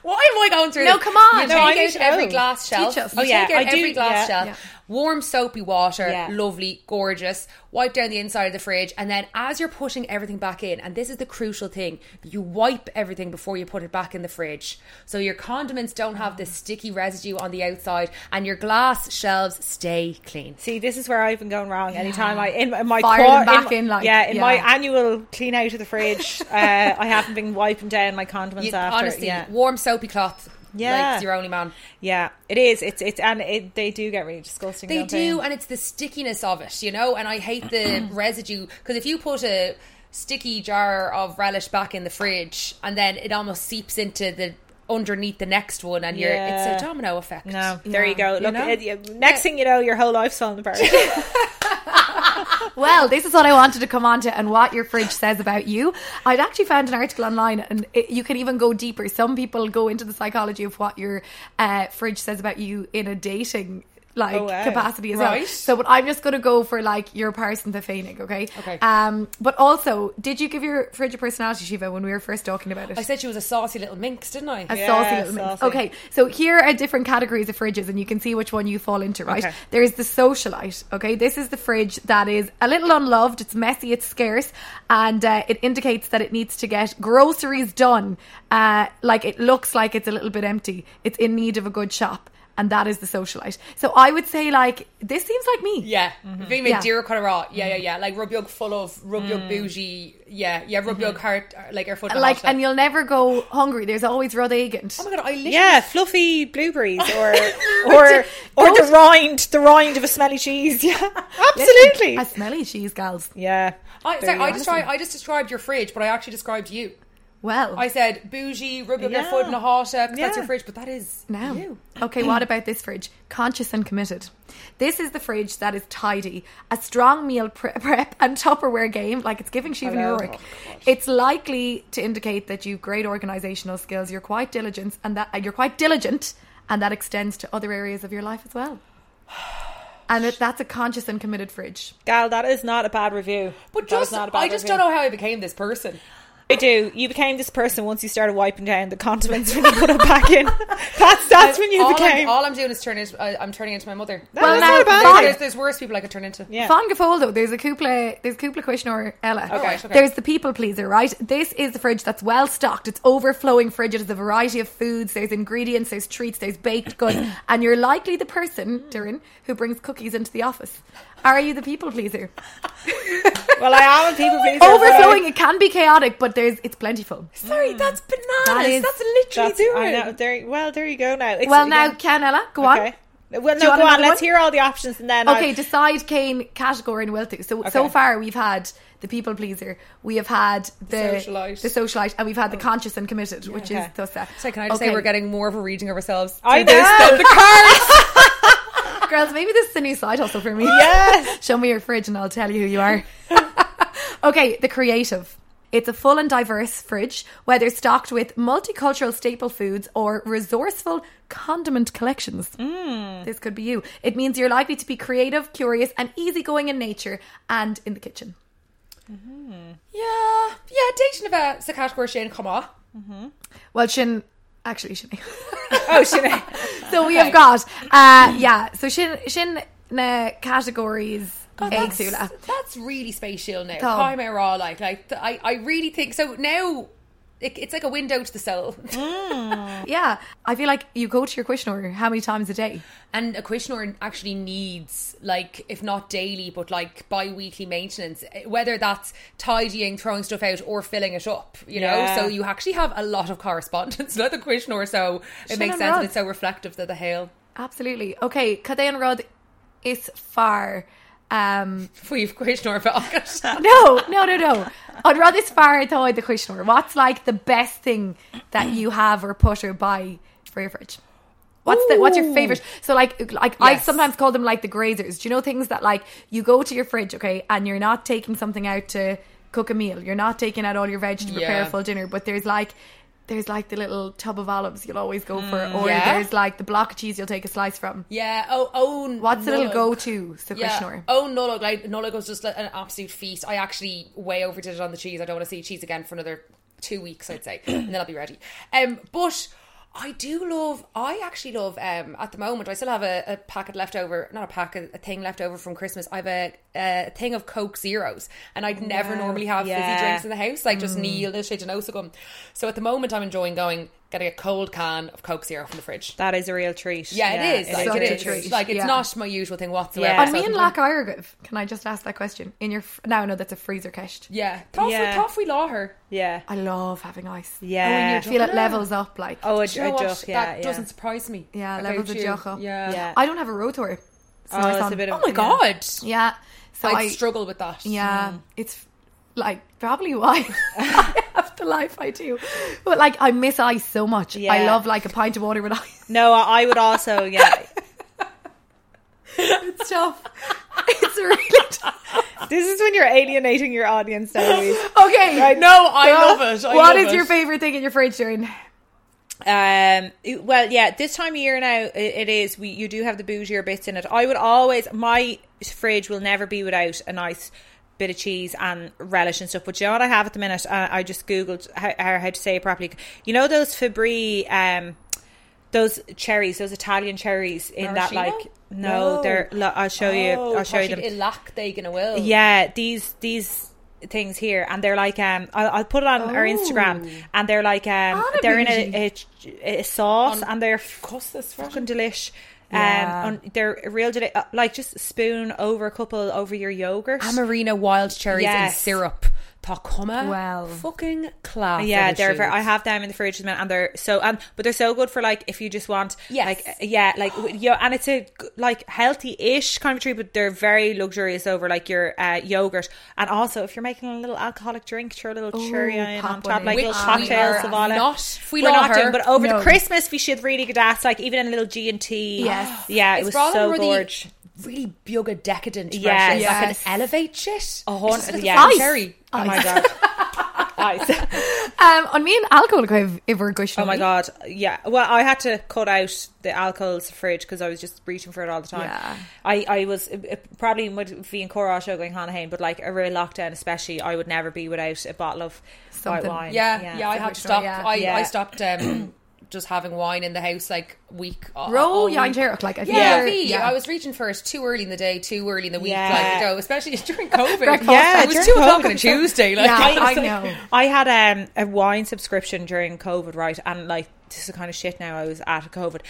[SPEAKER 2] Why am I going through?
[SPEAKER 3] No,
[SPEAKER 2] this?
[SPEAKER 3] come on.
[SPEAKER 2] You
[SPEAKER 3] No,
[SPEAKER 8] I
[SPEAKER 2] take
[SPEAKER 8] need
[SPEAKER 2] out
[SPEAKER 8] to
[SPEAKER 2] every
[SPEAKER 8] know.
[SPEAKER 2] glass shelf.
[SPEAKER 3] Teach us.
[SPEAKER 2] You
[SPEAKER 3] Oh,
[SPEAKER 8] yeah,
[SPEAKER 2] take out
[SPEAKER 8] I do-
[SPEAKER 2] every glass
[SPEAKER 8] yeah.
[SPEAKER 2] shelf. Warm soapy water,
[SPEAKER 8] Yeah.
[SPEAKER 2] lovely, gorgeous. Wipe down the inside of the fridge, and then as you're putting everything back in, and this is the crucial thing, you wipe everything before you put it back in the fridge. So your condiments don't have this sticky residue on the outside, and your glass shelves stay clean.
[SPEAKER 8] See, this is where I've been going wrong. Anytime I in, in my
[SPEAKER 3] Firing
[SPEAKER 8] quar-
[SPEAKER 3] back
[SPEAKER 8] my-
[SPEAKER 3] in, like,
[SPEAKER 8] yeah, in my
[SPEAKER 3] yeah.
[SPEAKER 8] annual clean out of the fridge, uh, I haven't been wiping down my condiments
[SPEAKER 2] You-
[SPEAKER 8] after.
[SPEAKER 2] honestly,
[SPEAKER 8] yeah.
[SPEAKER 2] warm soapy cloth. like,
[SPEAKER 8] Yeah.
[SPEAKER 2] it's your only man.
[SPEAKER 8] yeah, it is. It's it's and it, they do get really disgusting.
[SPEAKER 2] They
[SPEAKER 8] don't
[SPEAKER 2] do, and it's the stickiness of it, you know. And I hate the residue because if you put a sticky jar of relish back in the fridge, and then it almost seeps into the underneath the next one, and you're
[SPEAKER 8] Yeah.
[SPEAKER 2] it's a domino effect.
[SPEAKER 8] No, there you go. Look,
[SPEAKER 2] know?
[SPEAKER 8] it- you- next thing you know, your whole life's falling apart.
[SPEAKER 3] Well, this is what I wanted to come on to and what your fridge says about you. I'd actually found an article online and it, you can even go deeper. Some people go into the psychology of what your uh, fridge says about you in a dating like
[SPEAKER 8] Oh, wow.
[SPEAKER 3] capacity as well.
[SPEAKER 2] Right.
[SPEAKER 3] So but I'm just gonna go for like your Parsons of Faining, okay?
[SPEAKER 2] Okay.
[SPEAKER 3] Um but also, did you give your fridge a personality, Shiva, when we were first talking about it?
[SPEAKER 2] I said she was a saucy little minx, didn't I?
[SPEAKER 3] A
[SPEAKER 8] Yeah,
[SPEAKER 3] saucy little mix.
[SPEAKER 8] saucy.
[SPEAKER 3] Okay, so here are different categories of fridges, and you can see which one you fall into, right?
[SPEAKER 8] Okay.
[SPEAKER 3] There is the socialite, okay? This is the fridge that is a little unloved, it's messy, it's scarce, and uh, it indicates that it needs to get groceries done. Uh, like it looks like it's a little bit empty, it's in need of a good shop. And that is the socialite. So I would say, like, this seems like me.
[SPEAKER 2] Yeah, mm-hmm. Vima
[SPEAKER 3] Yeah.
[SPEAKER 2] yeah. yeah,
[SPEAKER 8] Mm-hmm.
[SPEAKER 2] yeah, yeah. Like rub your full of rub
[SPEAKER 8] Mm.
[SPEAKER 2] your bougie, yeah, yeah, rub
[SPEAKER 8] Mm-hmm.
[SPEAKER 2] your heart like your foot. in a
[SPEAKER 3] Like,
[SPEAKER 2] hot
[SPEAKER 3] and
[SPEAKER 2] dog.
[SPEAKER 3] you'll never go hungry. There's always Rud Agant.
[SPEAKER 2] oh my god, I literally
[SPEAKER 8] yeah, fluffy blueberries or or or the rind, the rind of a smelly cheese. Yeah, absolutely.
[SPEAKER 3] A smelly cheese, gals.
[SPEAKER 8] yeah.
[SPEAKER 2] I,
[SPEAKER 8] There
[SPEAKER 2] sorry,
[SPEAKER 8] you
[SPEAKER 2] I
[SPEAKER 8] go.
[SPEAKER 2] just tried, I just described your fridge, but I actually described you.
[SPEAKER 3] Well,
[SPEAKER 2] I said bougie, rub up your
[SPEAKER 8] Yeah.
[SPEAKER 2] foot in a hot dog, 'cause That's
[SPEAKER 8] Yeah.
[SPEAKER 2] your fridge, but that is
[SPEAKER 3] now.
[SPEAKER 2] you.
[SPEAKER 3] Okay, what about this fridge? Conscious and committed. This is the fridge that is tidy, a strong meal pre- prep and Tupperware game, like it's giving Shiva New
[SPEAKER 8] Hello.
[SPEAKER 3] York. it's likely to indicate that you've great organisational skills, you're quite diligent, and that uh, you're quite diligent, and that extends to other areas of your life as well. And it, that's a conscious and committed fridge.
[SPEAKER 8] Gal, that is not a bad review.
[SPEAKER 2] But
[SPEAKER 8] That is
[SPEAKER 2] just,
[SPEAKER 8] not a bad
[SPEAKER 2] I just
[SPEAKER 8] review.
[SPEAKER 2] don't know how I became this person.
[SPEAKER 1] I do. You became this person once you started wiping down the condiments when you put them back in. That's that's when you
[SPEAKER 4] all
[SPEAKER 1] became.
[SPEAKER 4] I'm, all I'm doing is turning. into- I, I'm turning into my mother.
[SPEAKER 1] Well,
[SPEAKER 3] Well,
[SPEAKER 1] that's
[SPEAKER 3] now,
[SPEAKER 1] not a bad
[SPEAKER 3] Fine.
[SPEAKER 4] there's, there's worse people I could turn into.
[SPEAKER 1] Yeah.
[SPEAKER 3] Fon Gafol, though, there's a couple, there's a couple question or Ella.
[SPEAKER 4] Okay, okay.
[SPEAKER 3] There's the people pleaser, right? This is the fridge that's well stocked. It's overflowing fridge. It has a variety of foods. There's ingredients, there's treats, there's baked goods. and you're likely the person, Durin, who brings cookies into the office. Are you the people pleaser?
[SPEAKER 1] Well, I am a people pleaser.
[SPEAKER 3] overflowing, it can be chaotic, but there's it's plentiful. Mm.
[SPEAKER 4] Sorry, that's bananas.
[SPEAKER 3] That is- That's
[SPEAKER 4] literally
[SPEAKER 1] That's, I know. There, well, there you go. Now. It's,
[SPEAKER 3] Well, now,
[SPEAKER 1] yeah.
[SPEAKER 3] can Ella, go on.
[SPEAKER 1] Okay. Well,
[SPEAKER 3] you
[SPEAKER 1] no,
[SPEAKER 3] want
[SPEAKER 1] go on.
[SPEAKER 3] another
[SPEAKER 1] Let's
[SPEAKER 3] one?
[SPEAKER 1] hear all the options and then.
[SPEAKER 3] Okay,
[SPEAKER 1] I'll-
[SPEAKER 3] decide Kane category and Wilthu. So so
[SPEAKER 1] Okay.
[SPEAKER 3] far we've had the people pleaser, we have had the
[SPEAKER 4] socialite. Oh.
[SPEAKER 3] the socialite, and we've had the conscious and committed, which
[SPEAKER 1] Okay.
[SPEAKER 3] is Tussa.
[SPEAKER 4] So can I just say
[SPEAKER 3] Okay.
[SPEAKER 4] we're getting more of a reading of ourselves?
[SPEAKER 1] I
[SPEAKER 4] through this
[SPEAKER 1] know.
[SPEAKER 4] than the cards.
[SPEAKER 3] girls? Maybe this is the new side hustle for me.
[SPEAKER 1] Yes.
[SPEAKER 3] show me your fridge and I'll tell you who you are. okay, the creative. It's a full and diverse fridge, whether stocked with multicultural staple foods or resourceful condiment collections.
[SPEAKER 4] Mm.
[SPEAKER 3] This could be you. It means you're likely to be creative, curious, and easygoing in nature and in the kitchen.
[SPEAKER 4] yeah, yeah. Dating about the category Shane, come on.
[SPEAKER 3] Well, Shin, actually, Shin.
[SPEAKER 1] Oh, Sinead.
[SPEAKER 3] so we have got, uh, yeah, so Shin, Shin uh, categories.
[SPEAKER 4] God,
[SPEAKER 3] Egg
[SPEAKER 4] that's,
[SPEAKER 3] Sula.
[SPEAKER 4] that's really spatial now.
[SPEAKER 3] Tom.
[SPEAKER 4] How am I raw? Like, like th- I, I really think so. Now it, it's like a window to the soul.
[SPEAKER 3] Yeah, I feel like you go to your questioner how many times a day?
[SPEAKER 4] And a questioner actually needs, like, if not daily, but like bi weekly maintenance, eh, whether that's tidying, throwing stuff out, or filling it up, you
[SPEAKER 1] Yeah.
[SPEAKER 4] know? So you actually have a lot of correspondence with the questioner, so it
[SPEAKER 3] Shin
[SPEAKER 4] makes
[SPEAKER 3] and
[SPEAKER 4] sense
[SPEAKER 3] Rod.
[SPEAKER 4] and it's so reflective that the hail.
[SPEAKER 3] Absolutely. Okay, Cadean Rod is far. Um,
[SPEAKER 4] We've questioner pocket.
[SPEAKER 3] no, no, no, no. I'd rather is far though the questioner. What's like the best thing that you have or put or buy for your fridge? What's the what's your favorite? So like like I
[SPEAKER 4] Yes.
[SPEAKER 3] sometimes call them like the grazers. Do you know things that like you go to your fridge, okay, and you're not taking something out to cook a meal. You're not taking out all your veg to prepare a
[SPEAKER 4] Yeah.
[SPEAKER 3] full dinner, but there's like there's like the little tub of olives you'll always go for, or
[SPEAKER 4] Mm, yeah.
[SPEAKER 3] there's like the block of cheese you'll take a slice from.
[SPEAKER 4] Yeah, oh, own.
[SPEAKER 3] What's the little
[SPEAKER 4] nullog.
[SPEAKER 3] go to, so questioner?
[SPEAKER 4] Oh, Nullag. Like, Nullag was just like, an absolute feast. I actually way overdid it on the cheese. I don't want to see cheese again for another two weeks, I'd say. and then I'll be ready. Um, but I do love, I actually love, um, at the moment, I still have a, a packet left over, not a packet, a thing left over from Christmas. I have a, a thing of Coke Zeros. And I'd never normally have
[SPEAKER 1] yeah.
[SPEAKER 4] fizzy drinks in the house, like
[SPEAKER 1] Mm.
[SPEAKER 4] just Neil, no shade to no succumb. So at the moment, I'm enjoying going, getting a cold can of Coke Zero from the fridge.
[SPEAKER 1] That is a real treat.
[SPEAKER 4] Yeah, it is.
[SPEAKER 3] is
[SPEAKER 4] Like,
[SPEAKER 3] such
[SPEAKER 4] it
[SPEAKER 3] a
[SPEAKER 4] is.
[SPEAKER 3] treat.
[SPEAKER 4] Like, it's
[SPEAKER 3] Yeah.
[SPEAKER 4] not my usual thing whatsoever.
[SPEAKER 1] Yeah.
[SPEAKER 3] Are
[SPEAKER 4] So
[SPEAKER 3] me and
[SPEAKER 4] sometimes-
[SPEAKER 3] Lack Irgiv? Can I just ask that question? In your fr- no, no, that's a freezer cache.
[SPEAKER 4] Yeah. Toff,
[SPEAKER 1] Yeah.
[SPEAKER 4] Toff we law her.
[SPEAKER 1] Yeah.
[SPEAKER 3] I love having ice.
[SPEAKER 1] Yeah.
[SPEAKER 3] I feel it levels up. Like
[SPEAKER 1] Oh, a, a
[SPEAKER 4] Do you know what?
[SPEAKER 1] duck, yeah.
[SPEAKER 4] that
[SPEAKER 1] yeah.
[SPEAKER 4] doesn't surprise me.
[SPEAKER 3] yeah,
[SPEAKER 4] about
[SPEAKER 3] levels a
[SPEAKER 4] you.
[SPEAKER 3] joke up.
[SPEAKER 4] Yeah.
[SPEAKER 1] Yeah.
[SPEAKER 3] I don't have a rotor.
[SPEAKER 1] Oh, it's a bit of-
[SPEAKER 4] Oh my
[SPEAKER 1] Yeah.
[SPEAKER 4] god.
[SPEAKER 3] yeah, so
[SPEAKER 4] I'd
[SPEAKER 3] I
[SPEAKER 4] struggle with that.
[SPEAKER 3] Yeah,
[SPEAKER 1] Hmm.
[SPEAKER 3] it's like probably why I have the life I do. But like I miss ice so much. I
[SPEAKER 1] Yeah.
[SPEAKER 3] love like a pint of water with ice.
[SPEAKER 1] No, I I would also. Yeah,
[SPEAKER 3] It's tough. it's really tough.
[SPEAKER 1] this is when you're alienating your audience, though, Louise.
[SPEAKER 3] Okay.
[SPEAKER 4] No, I love it. I
[SPEAKER 3] What
[SPEAKER 4] love
[SPEAKER 3] is your
[SPEAKER 4] it.
[SPEAKER 3] favorite thing in your fridge, Durin?
[SPEAKER 1] Um. it- Well, yeah. This time of year now, it, it is. We you do have the bougier bits in it. I would always my fridge will never be without a nice bit of cheese and relish and stuff. But you know what I have at the minute? Uh, I just googled how, how how to say it properly. You know those Fabri um those cherries, those Italian cherries in that
[SPEAKER 4] Maraschino?
[SPEAKER 1] like no, they're. lo- I'll show
[SPEAKER 2] Oh,
[SPEAKER 1] you. I'll show you them.
[SPEAKER 4] Lack they gonna will.
[SPEAKER 1] yeah these these things here and they're like um I'll, I'll put it on our Instagram and they're like um
[SPEAKER 3] Anna
[SPEAKER 1] they're in
[SPEAKER 3] Bougie.
[SPEAKER 1] a, a, a sauce and they're
[SPEAKER 4] course this
[SPEAKER 1] fucking delish
[SPEAKER 3] Yeah.
[SPEAKER 1] um on, they're real deli- uh, like just spoon over a couple over your yogurt
[SPEAKER 4] Amarina wild cherries and
[SPEAKER 1] Yes.
[SPEAKER 4] syrup. Tacoma.
[SPEAKER 3] Well.
[SPEAKER 4] fucking class.
[SPEAKER 1] yeah,
[SPEAKER 4] are the
[SPEAKER 1] they're. Very,
[SPEAKER 4] shoes.
[SPEAKER 1] I have them in the fridge, at the minute and they're so. And but they're so good for like if you just want,
[SPEAKER 4] Yes.
[SPEAKER 1] like uh, yeah, like w- yo, and it's a g- like healthy-ish kind of treat, but they're very luxurious over like your uh, yogurt, and also if you're making a little alcoholic drink, throw a little cherry in
[SPEAKER 3] pop
[SPEAKER 1] on
[SPEAKER 3] one
[SPEAKER 1] top,
[SPEAKER 3] in.
[SPEAKER 1] like
[SPEAKER 4] Which
[SPEAKER 1] little
[SPEAKER 4] we are
[SPEAKER 1] cocktails of all
[SPEAKER 4] not- we
[SPEAKER 1] We're
[SPEAKER 4] love
[SPEAKER 1] not doing,
[SPEAKER 4] her.
[SPEAKER 1] but over
[SPEAKER 3] No.
[SPEAKER 1] the Christmas we should really good ass, like even in a little G and T.
[SPEAKER 3] Yes.
[SPEAKER 1] yeah, it
[SPEAKER 4] It's
[SPEAKER 1] was
[SPEAKER 4] rather
[SPEAKER 1] so
[SPEAKER 4] more the
[SPEAKER 1] gorge.
[SPEAKER 4] Really bugger decadent.
[SPEAKER 1] Yes.
[SPEAKER 4] versions that
[SPEAKER 3] Yes.
[SPEAKER 4] can elevate shit.
[SPEAKER 1] A horn-
[SPEAKER 4] It's just like
[SPEAKER 1] yeah.
[SPEAKER 4] fucking
[SPEAKER 1] Ice.
[SPEAKER 4] cherry.
[SPEAKER 1] Oh my god. Ice.
[SPEAKER 3] Um, on me an alcohol go iver gush.
[SPEAKER 8] Oh my god, yeah. Well, I had to cut out the alcohol's fridge because I was just reaching for it all the time.
[SPEAKER 3] Yeah.
[SPEAKER 8] I, I was it- it probably would be in Cora show going Hanahane, but like a real lockdown, especially, I would never be without a bottle of
[SPEAKER 3] Something.
[SPEAKER 8] white wine.
[SPEAKER 2] Yeah, yeah, I had to
[SPEAKER 3] Victoria,
[SPEAKER 2] stop.
[SPEAKER 3] yeah.
[SPEAKER 2] I,
[SPEAKER 8] Yeah.
[SPEAKER 2] I stopped um, just having wine in the house like week. uh,
[SPEAKER 3] Ro
[SPEAKER 2] all
[SPEAKER 3] yeah,
[SPEAKER 2] week.
[SPEAKER 3] like if
[SPEAKER 2] Yeah,
[SPEAKER 3] you're-
[SPEAKER 2] me. I was reaching for it too early in the day, too early in the week.
[SPEAKER 8] Yeah.
[SPEAKER 2] Like, you know, especially during COVID.
[SPEAKER 3] Breakfast.
[SPEAKER 8] Yeah,
[SPEAKER 2] it was
[SPEAKER 8] during
[SPEAKER 2] two o'clock on a
[SPEAKER 8] COVID.
[SPEAKER 2] Tuesday. Like,
[SPEAKER 3] Yeah,
[SPEAKER 2] I was
[SPEAKER 3] I
[SPEAKER 2] like-
[SPEAKER 3] know.
[SPEAKER 8] I had um, a wine subscription during COVID, right? And like this is the kind of shit now I was at COVID.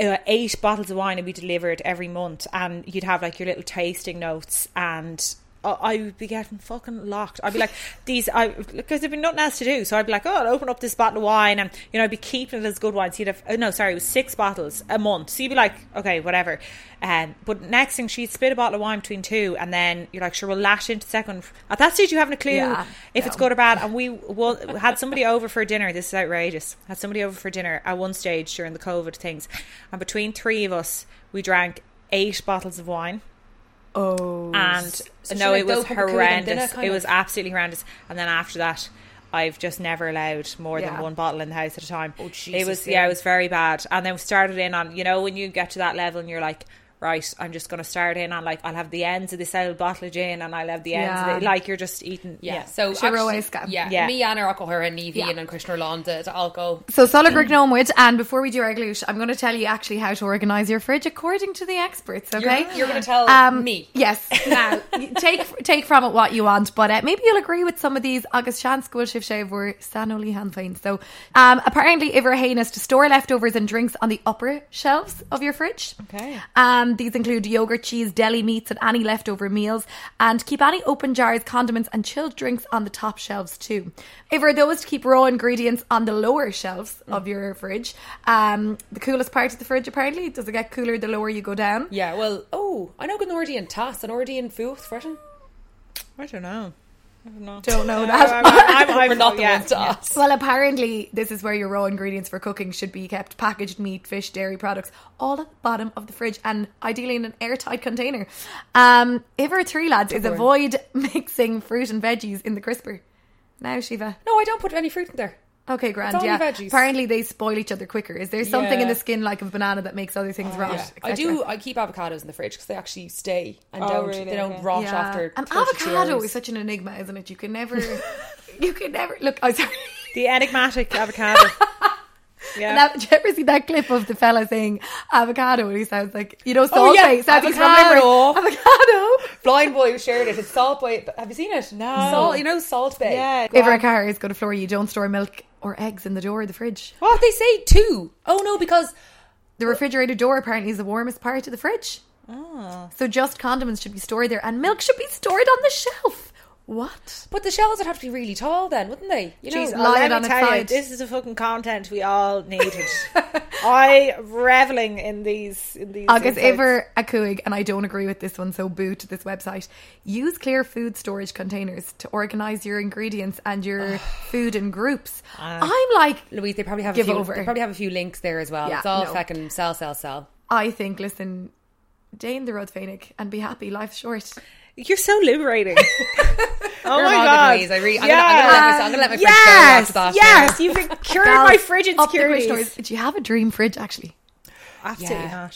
[SPEAKER 8] Uh, eight bottles of wine would be delivered every month, and you'd have like your little tasting notes, and I- I would be getting fucking locked. I'd be like, these, I because there'd be nothing else to do, so I'd be like, oh, I'll open up this bottle of wine, and you know, I'd be keeping it as good wine. So you'd have, oh, no, sorry, it was six bottles a month, so you'd be like, okay, whatever. Um, but next thing, she'd spit a bottle of wine between two, and then you're like, sure, we'll lash into the second. At that stage, you haven't a clue
[SPEAKER 3] Yeah.
[SPEAKER 8] if it's good or bad. And we well, had somebody over for dinner. This is outrageous. Had somebody over for dinner at one stage during the COVID things, and between three of us, we drank eight bottles of wine. Oh, and no,
[SPEAKER 2] like
[SPEAKER 8] it was
[SPEAKER 2] dope and cool and dinner
[SPEAKER 8] horrendous.
[SPEAKER 2] kind
[SPEAKER 8] it
[SPEAKER 2] of?
[SPEAKER 8] was absolutely horrendous. And then after that. I've just never allowed more
[SPEAKER 3] Yeah.
[SPEAKER 8] than one bottle in the house at a time. Oh, it
[SPEAKER 2] Jesus,
[SPEAKER 8] was
[SPEAKER 2] yeah.
[SPEAKER 8] yeah, it was very bad. And then we started in on you know when you get to that level and you're like, right, I'm just going to start in on like I'll have the ends of this old bottle of gin and I'll have the ends
[SPEAKER 3] Yeah.
[SPEAKER 8] of the, like you're just eating
[SPEAKER 2] yeah. So
[SPEAKER 3] Sure, always go.
[SPEAKER 2] yeah,
[SPEAKER 8] Yeah.
[SPEAKER 2] me and Arachel, her and Evie
[SPEAKER 3] Yeah.
[SPEAKER 2] and, and Krishna Londa to alcohol.
[SPEAKER 3] So solid
[SPEAKER 2] "Hmm."
[SPEAKER 3] gnomwood, and before we do our glute, I'm going to tell you actually how to organize your fridge according to the experts. Okay, Um,
[SPEAKER 2] you're gonna tell me.
[SPEAKER 3] Yes. Now take take from it what you want, but uh, maybe you'll agree with some of these. Agus Shan school shift shave were San Oli Hanfain. So um, apparently, Iver heinous to store leftovers and drinks on the upper shelves of your fridge.
[SPEAKER 8] Okay.
[SPEAKER 3] Um, these include yogurt, cheese, deli meats, and any leftover meals. And keep any open jars, condiments, and chilled drinks on the top shelves too. If are those to keep raw ingredients on the lower shelves of your fridge, um, the coolest part of the fridge apparently does it get cooler the lower you go down.
[SPEAKER 2] Yeah, well, oh, I know an already in Tass, an already in Futh, Fretin.
[SPEAKER 1] Oh,
[SPEAKER 8] I don't know. I don't know.
[SPEAKER 3] Don't know
[SPEAKER 8] No,
[SPEAKER 3] that.
[SPEAKER 8] I'm, I'm, I'm,
[SPEAKER 2] We're not the
[SPEAKER 8] yeah,
[SPEAKER 2] ones to ask.
[SPEAKER 3] Well, apparently, this is where your raw ingredients for cooking should be kept packaged meat, fish, dairy products, all at the bottom of the fridge and ideally in an airtight container. Um, Iver Three Lads is avoid mixing fruit and veggies in the crisper. Now, Shiva.
[SPEAKER 2] No, I don't put any fruit in there.
[SPEAKER 3] Okay, grand.
[SPEAKER 2] only
[SPEAKER 3] yeah.
[SPEAKER 2] veggies.
[SPEAKER 3] Apparently, they spoil each other quicker. Is there something in
[SPEAKER 2] Yeah. Oh,
[SPEAKER 3] the skin, like of a banana, that makes other things rot?
[SPEAKER 2] Yeah. I
[SPEAKER 3] etc.?
[SPEAKER 2] do. I keep avocados in the fridge because they actually stay and
[SPEAKER 4] Oh,
[SPEAKER 2] don't
[SPEAKER 8] really?
[SPEAKER 2] they don't
[SPEAKER 8] Okay.
[SPEAKER 2] rot
[SPEAKER 3] Yeah.
[SPEAKER 2] after.
[SPEAKER 3] An
[SPEAKER 2] 32
[SPEAKER 3] avocado
[SPEAKER 2] hours.
[SPEAKER 3] is such an enigma, isn't it? You can never. you can never. Look, I'm sorry.
[SPEAKER 8] The enigmatic avocado.
[SPEAKER 3] And
[SPEAKER 8] yeah.
[SPEAKER 3] that, did you ever see that clip of the fella saying avocado? And he sounds like, you know,
[SPEAKER 2] Oh,
[SPEAKER 3] salt
[SPEAKER 2] yeah,
[SPEAKER 3] face. Abby's from
[SPEAKER 2] avocado.
[SPEAKER 3] Limerick. Avocado.
[SPEAKER 2] Blind boy who shared it. It's salt boy. Have you seen it? No. Salt. You know salt bay.
[SPEAKER 8] yeah.
[SPEAKER 3] If our car is going to floor you, don't store milk or eggs in the door of the fridge.
[SPEAKER 2] What they say two? Oh no, because
[SPEAKER 3] The refrigerator door apparently is the warmest part of the fridge. Oh. So just condiments should be stored there and milk should be stored on the shelf. What?
[SPEAKER 2] but the shells would have to be really tall then, wouldn't they? You know,
[SPEAKER 8] Jeez,
[SPEAKER 3] lie it
[SPEAKER 8] let
[SPEAKER 3] on its
[SPEAKER 8] me tell you,
[SPEAKER 3] side.
[SPEAKER 8] this is the fucking content we all needed. I reveling in these. In these
[SPEAKER 3] August
[SPEAKER 8] insights.
[SPEAKER 3] ever a cooig, and I don't agree with this one, so boo to this website. Use clear food storage containers to organise your ingredients and your food in groups. I'm like,
[SPEAKER 2] Louise, they probably have a
[SPEAKER 3] Give
[SPEAKER 2] few,
[SPEAKER 3] over.
[SPEAKER 2] They probably have a few links there as well.
[SPEAKER 3] Yeah,
[SPEAKER 2] it's all
[SPEAKER 3] no.
[SPEAKER 2] fucking sell, sell, sell.
[SPEAKER 3] I think, listen, day in the road Phoenix and be happy. Life's short.
[SPEAKER 8] You're so liberating. oh
[SPEAKER 2] You're
[SPEAKER 8] my
[SPEAKER 2] vlogging,
[SPEAKER 8] god.
[SPEAKER 2] Louise. I really- I'm gonna- I'm gonna let myself- I'm gonna let my fridge go
[SPEAKER 8] yes,
[SPEAKER 2] after that.
[SPEAKER 8] Yes, you've cured my fridge
[SPEAKER 3] Up the fridge doors.
[SPEAKER 8] insecurities.
[SPEAKER 3] Do you have a dream fridge, actually?
[SPEAKER 8] Absolutely
[SPEAKER 2] Yeah.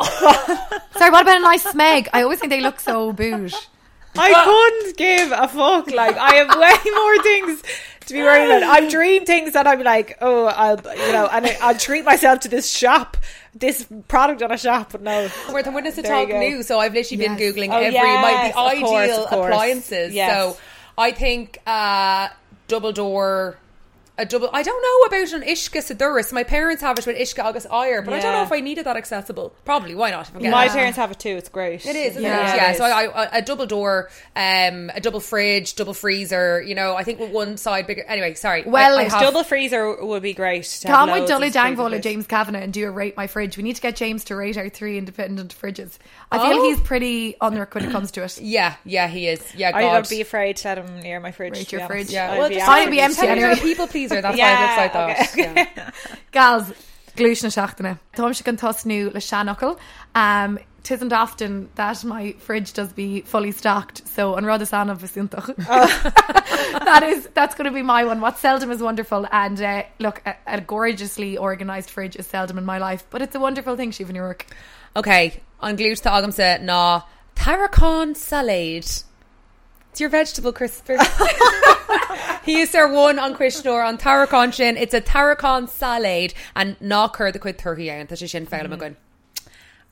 [SPEAKER 8] not.
[SPEAKER 3] Sorry, what about a nice smeg? I always think they look so booge.
[SPEAKER 8] I couldn't give a fuck. Like I have way more things to be worried about. I've dreamed things that I'm like, oh, I'll you know, and I- I'll treat myself to this shop, this product on a shop. But no,
[SPEAKER 2] We're the witness to
[SPEAKER 8] There you
[SPEAKER 2] talk
[SPEAKER 8] go.
[SPEAKER 2] new, so I've literally
[SPEAKER 3] Yes.
[SPEAKER 2] been googling
[SPEAKER 8] Oh,
[SPEAKER 2] every
[SPEAKER 8] yes,
[SPEAKER 2] my,
[SPEAKER 8] of
[SPEAKER 2] the
[SPEAKER 8] course,
[SPEAKER 2] ideal
[SPEAKER 8] of course.
[SPEAKER 2] appliances.
[SPEAKER 8] Yes.
[SPEAKER 2] So I think uh, double door. A double. I don't know about an Ishka Siduris. My parents have it with Ishka August Iyer, but I don't
[SPEAKER 8] Yeah.
[SPEAKER 2] know if I needed that accessible. Probably. Why not? If I'm getting
[SPEAKER 8] my
[SPEAKER 2] it.
[SPEAKER 8] parents have it too. It's great.
[SPEAKER 2] It is, isn't
[SPEAKER 3] Yeah,
[SPEAKER 2] it?
[SPEAKER 3] it
[SPEAKER 2] Yeah.
[SPEAKER 8] is.
[SPEAKER 2] So I, I, a double door, um, a double fridge, double freezer. You know, I think with one side bigger. Anyway, sorry.
[SPEAKER 3] Well,
[SPEAKER 2] I, I
[SPEAKER 3] it's
[SPEAKER 2] have-
[SPEAKER 8] Double freezer would be great. to have
[SPEAKER 3] Tom with
[SPEAKER 8] loads
[SPEAKER 3] Dolly
[SPEAKER 8] of freezer
[SPEAKER 3] Dangwall and
[SPEAKER 8] space.
[SPEAKER 3] James Kavanagh and do a rate my fridge. We need to get James to rate our three independent fridges. I feel
[SPEAKER 2] Oh.
[SPEAKER 3] he's pretty on the hook when it comes to it.
[SPEAKER 2] Yeah, yeah, he is. Yeah, God.
[SPEAKER 8] I would be afraid to let him near my fridge.
[SPEAKER 3] Rate
[SPEAKER 8] to
[SPEAKER 3] your
[SPEAKER 8] be honest.
[SPEAKER 3] fridge. Yeah.
[SPEAKER 8] I'd
[SPEAKER 2] Well,
[SPEAKER 8] be
[SPEAKER 2] just
[SPEAKER 8] absolutely
[SPEAKER 3] I'd be empty
[SPEAKER 2] Tell me you're a
[SPEAKER 3] anyway.
[SPEAKER 2] people pleaser. That's why
[SPEAKER 8] Yeah,
[SPEAKER 2] it looks like that. Yeah.
[SPEAKER 3] Gals, glúisna seachtainna. Tám se an tosnú le seanachil. Um, tisn't often that my fridge does be fully stocked. So on Rodasan of Vicintach. that is that's going to be my one. What's seldom is wonderful, and uh, look, a, a gorgeously organised fridge is seldom in my life, but it's a wonderful thing, Siobhan York.
[SPEAKER 4] Okay, on glutes to agamsa na tarragon salad. It's your vegetable crisper. he is our one on Krishnor on tarragon sin. It's a tarragon salad and ná chur de chuid thuí an tá sé sin fé
[SPEAKER 8] Mm-hmm.
[SPEAKER 4] agan.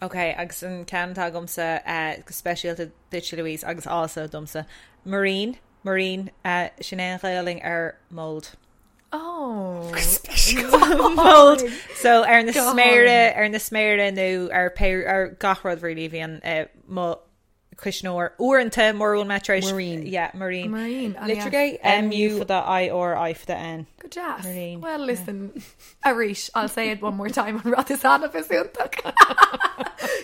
[SPEAKER 1] Okay, agus an cean tá gomsa uh, speisialta ditse Louise agus ása domsa. Marine, Marine uh, sin é an réling ar mold.
[SPEAKER 3] Oh,
[SPEAKER 1] mold. So ar na sméire ar na sméire nó ar pe ar gachrod rilí bhíon má cuiisnóir uanta mórún metro Marine. Yeah, Marine.
[SPEAKER 3] Marine, ah, yeah.
[SPEAKER 1] Litrigay MU for the I or I for the N.
[SPEAKER 3] good job.
[SPEAKER 1] Maureen,
[SPEAKER 3] Well, listen, Arish, I'll say it one more time on Rodasan of Vicintach.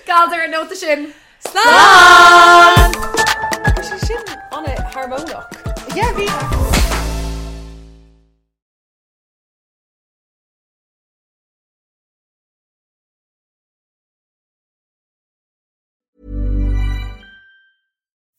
[SPEAKER 3] Galder and Nota Shin. Slán!
[SPEAKER 4] sin on a harmonic.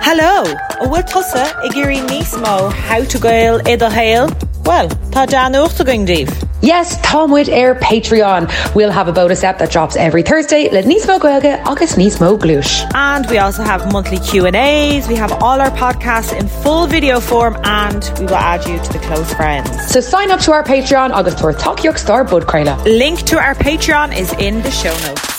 [SPEAKER 1] Hello, a bhfuil tusa i ggéirí níos mó how to gail iad a héil? Well, tá Dan uachta going díobh.
[SPEAKER 2] Yes, Tomwood Air Patreon. We'll have a bonus app that drops every Thursday. Let Nismo Goelga, August Nismo Glush.
[SPEAKER 1] And we also have monthly Q&As. We have all our podcasts in full video form and we will add you to the close friends.
[SPEAKER 2] So sign up to our Patreon, August Tour Talk York Star Bud Crayla.
[SPEAKER 1] Link to our Patreon is in the show notes.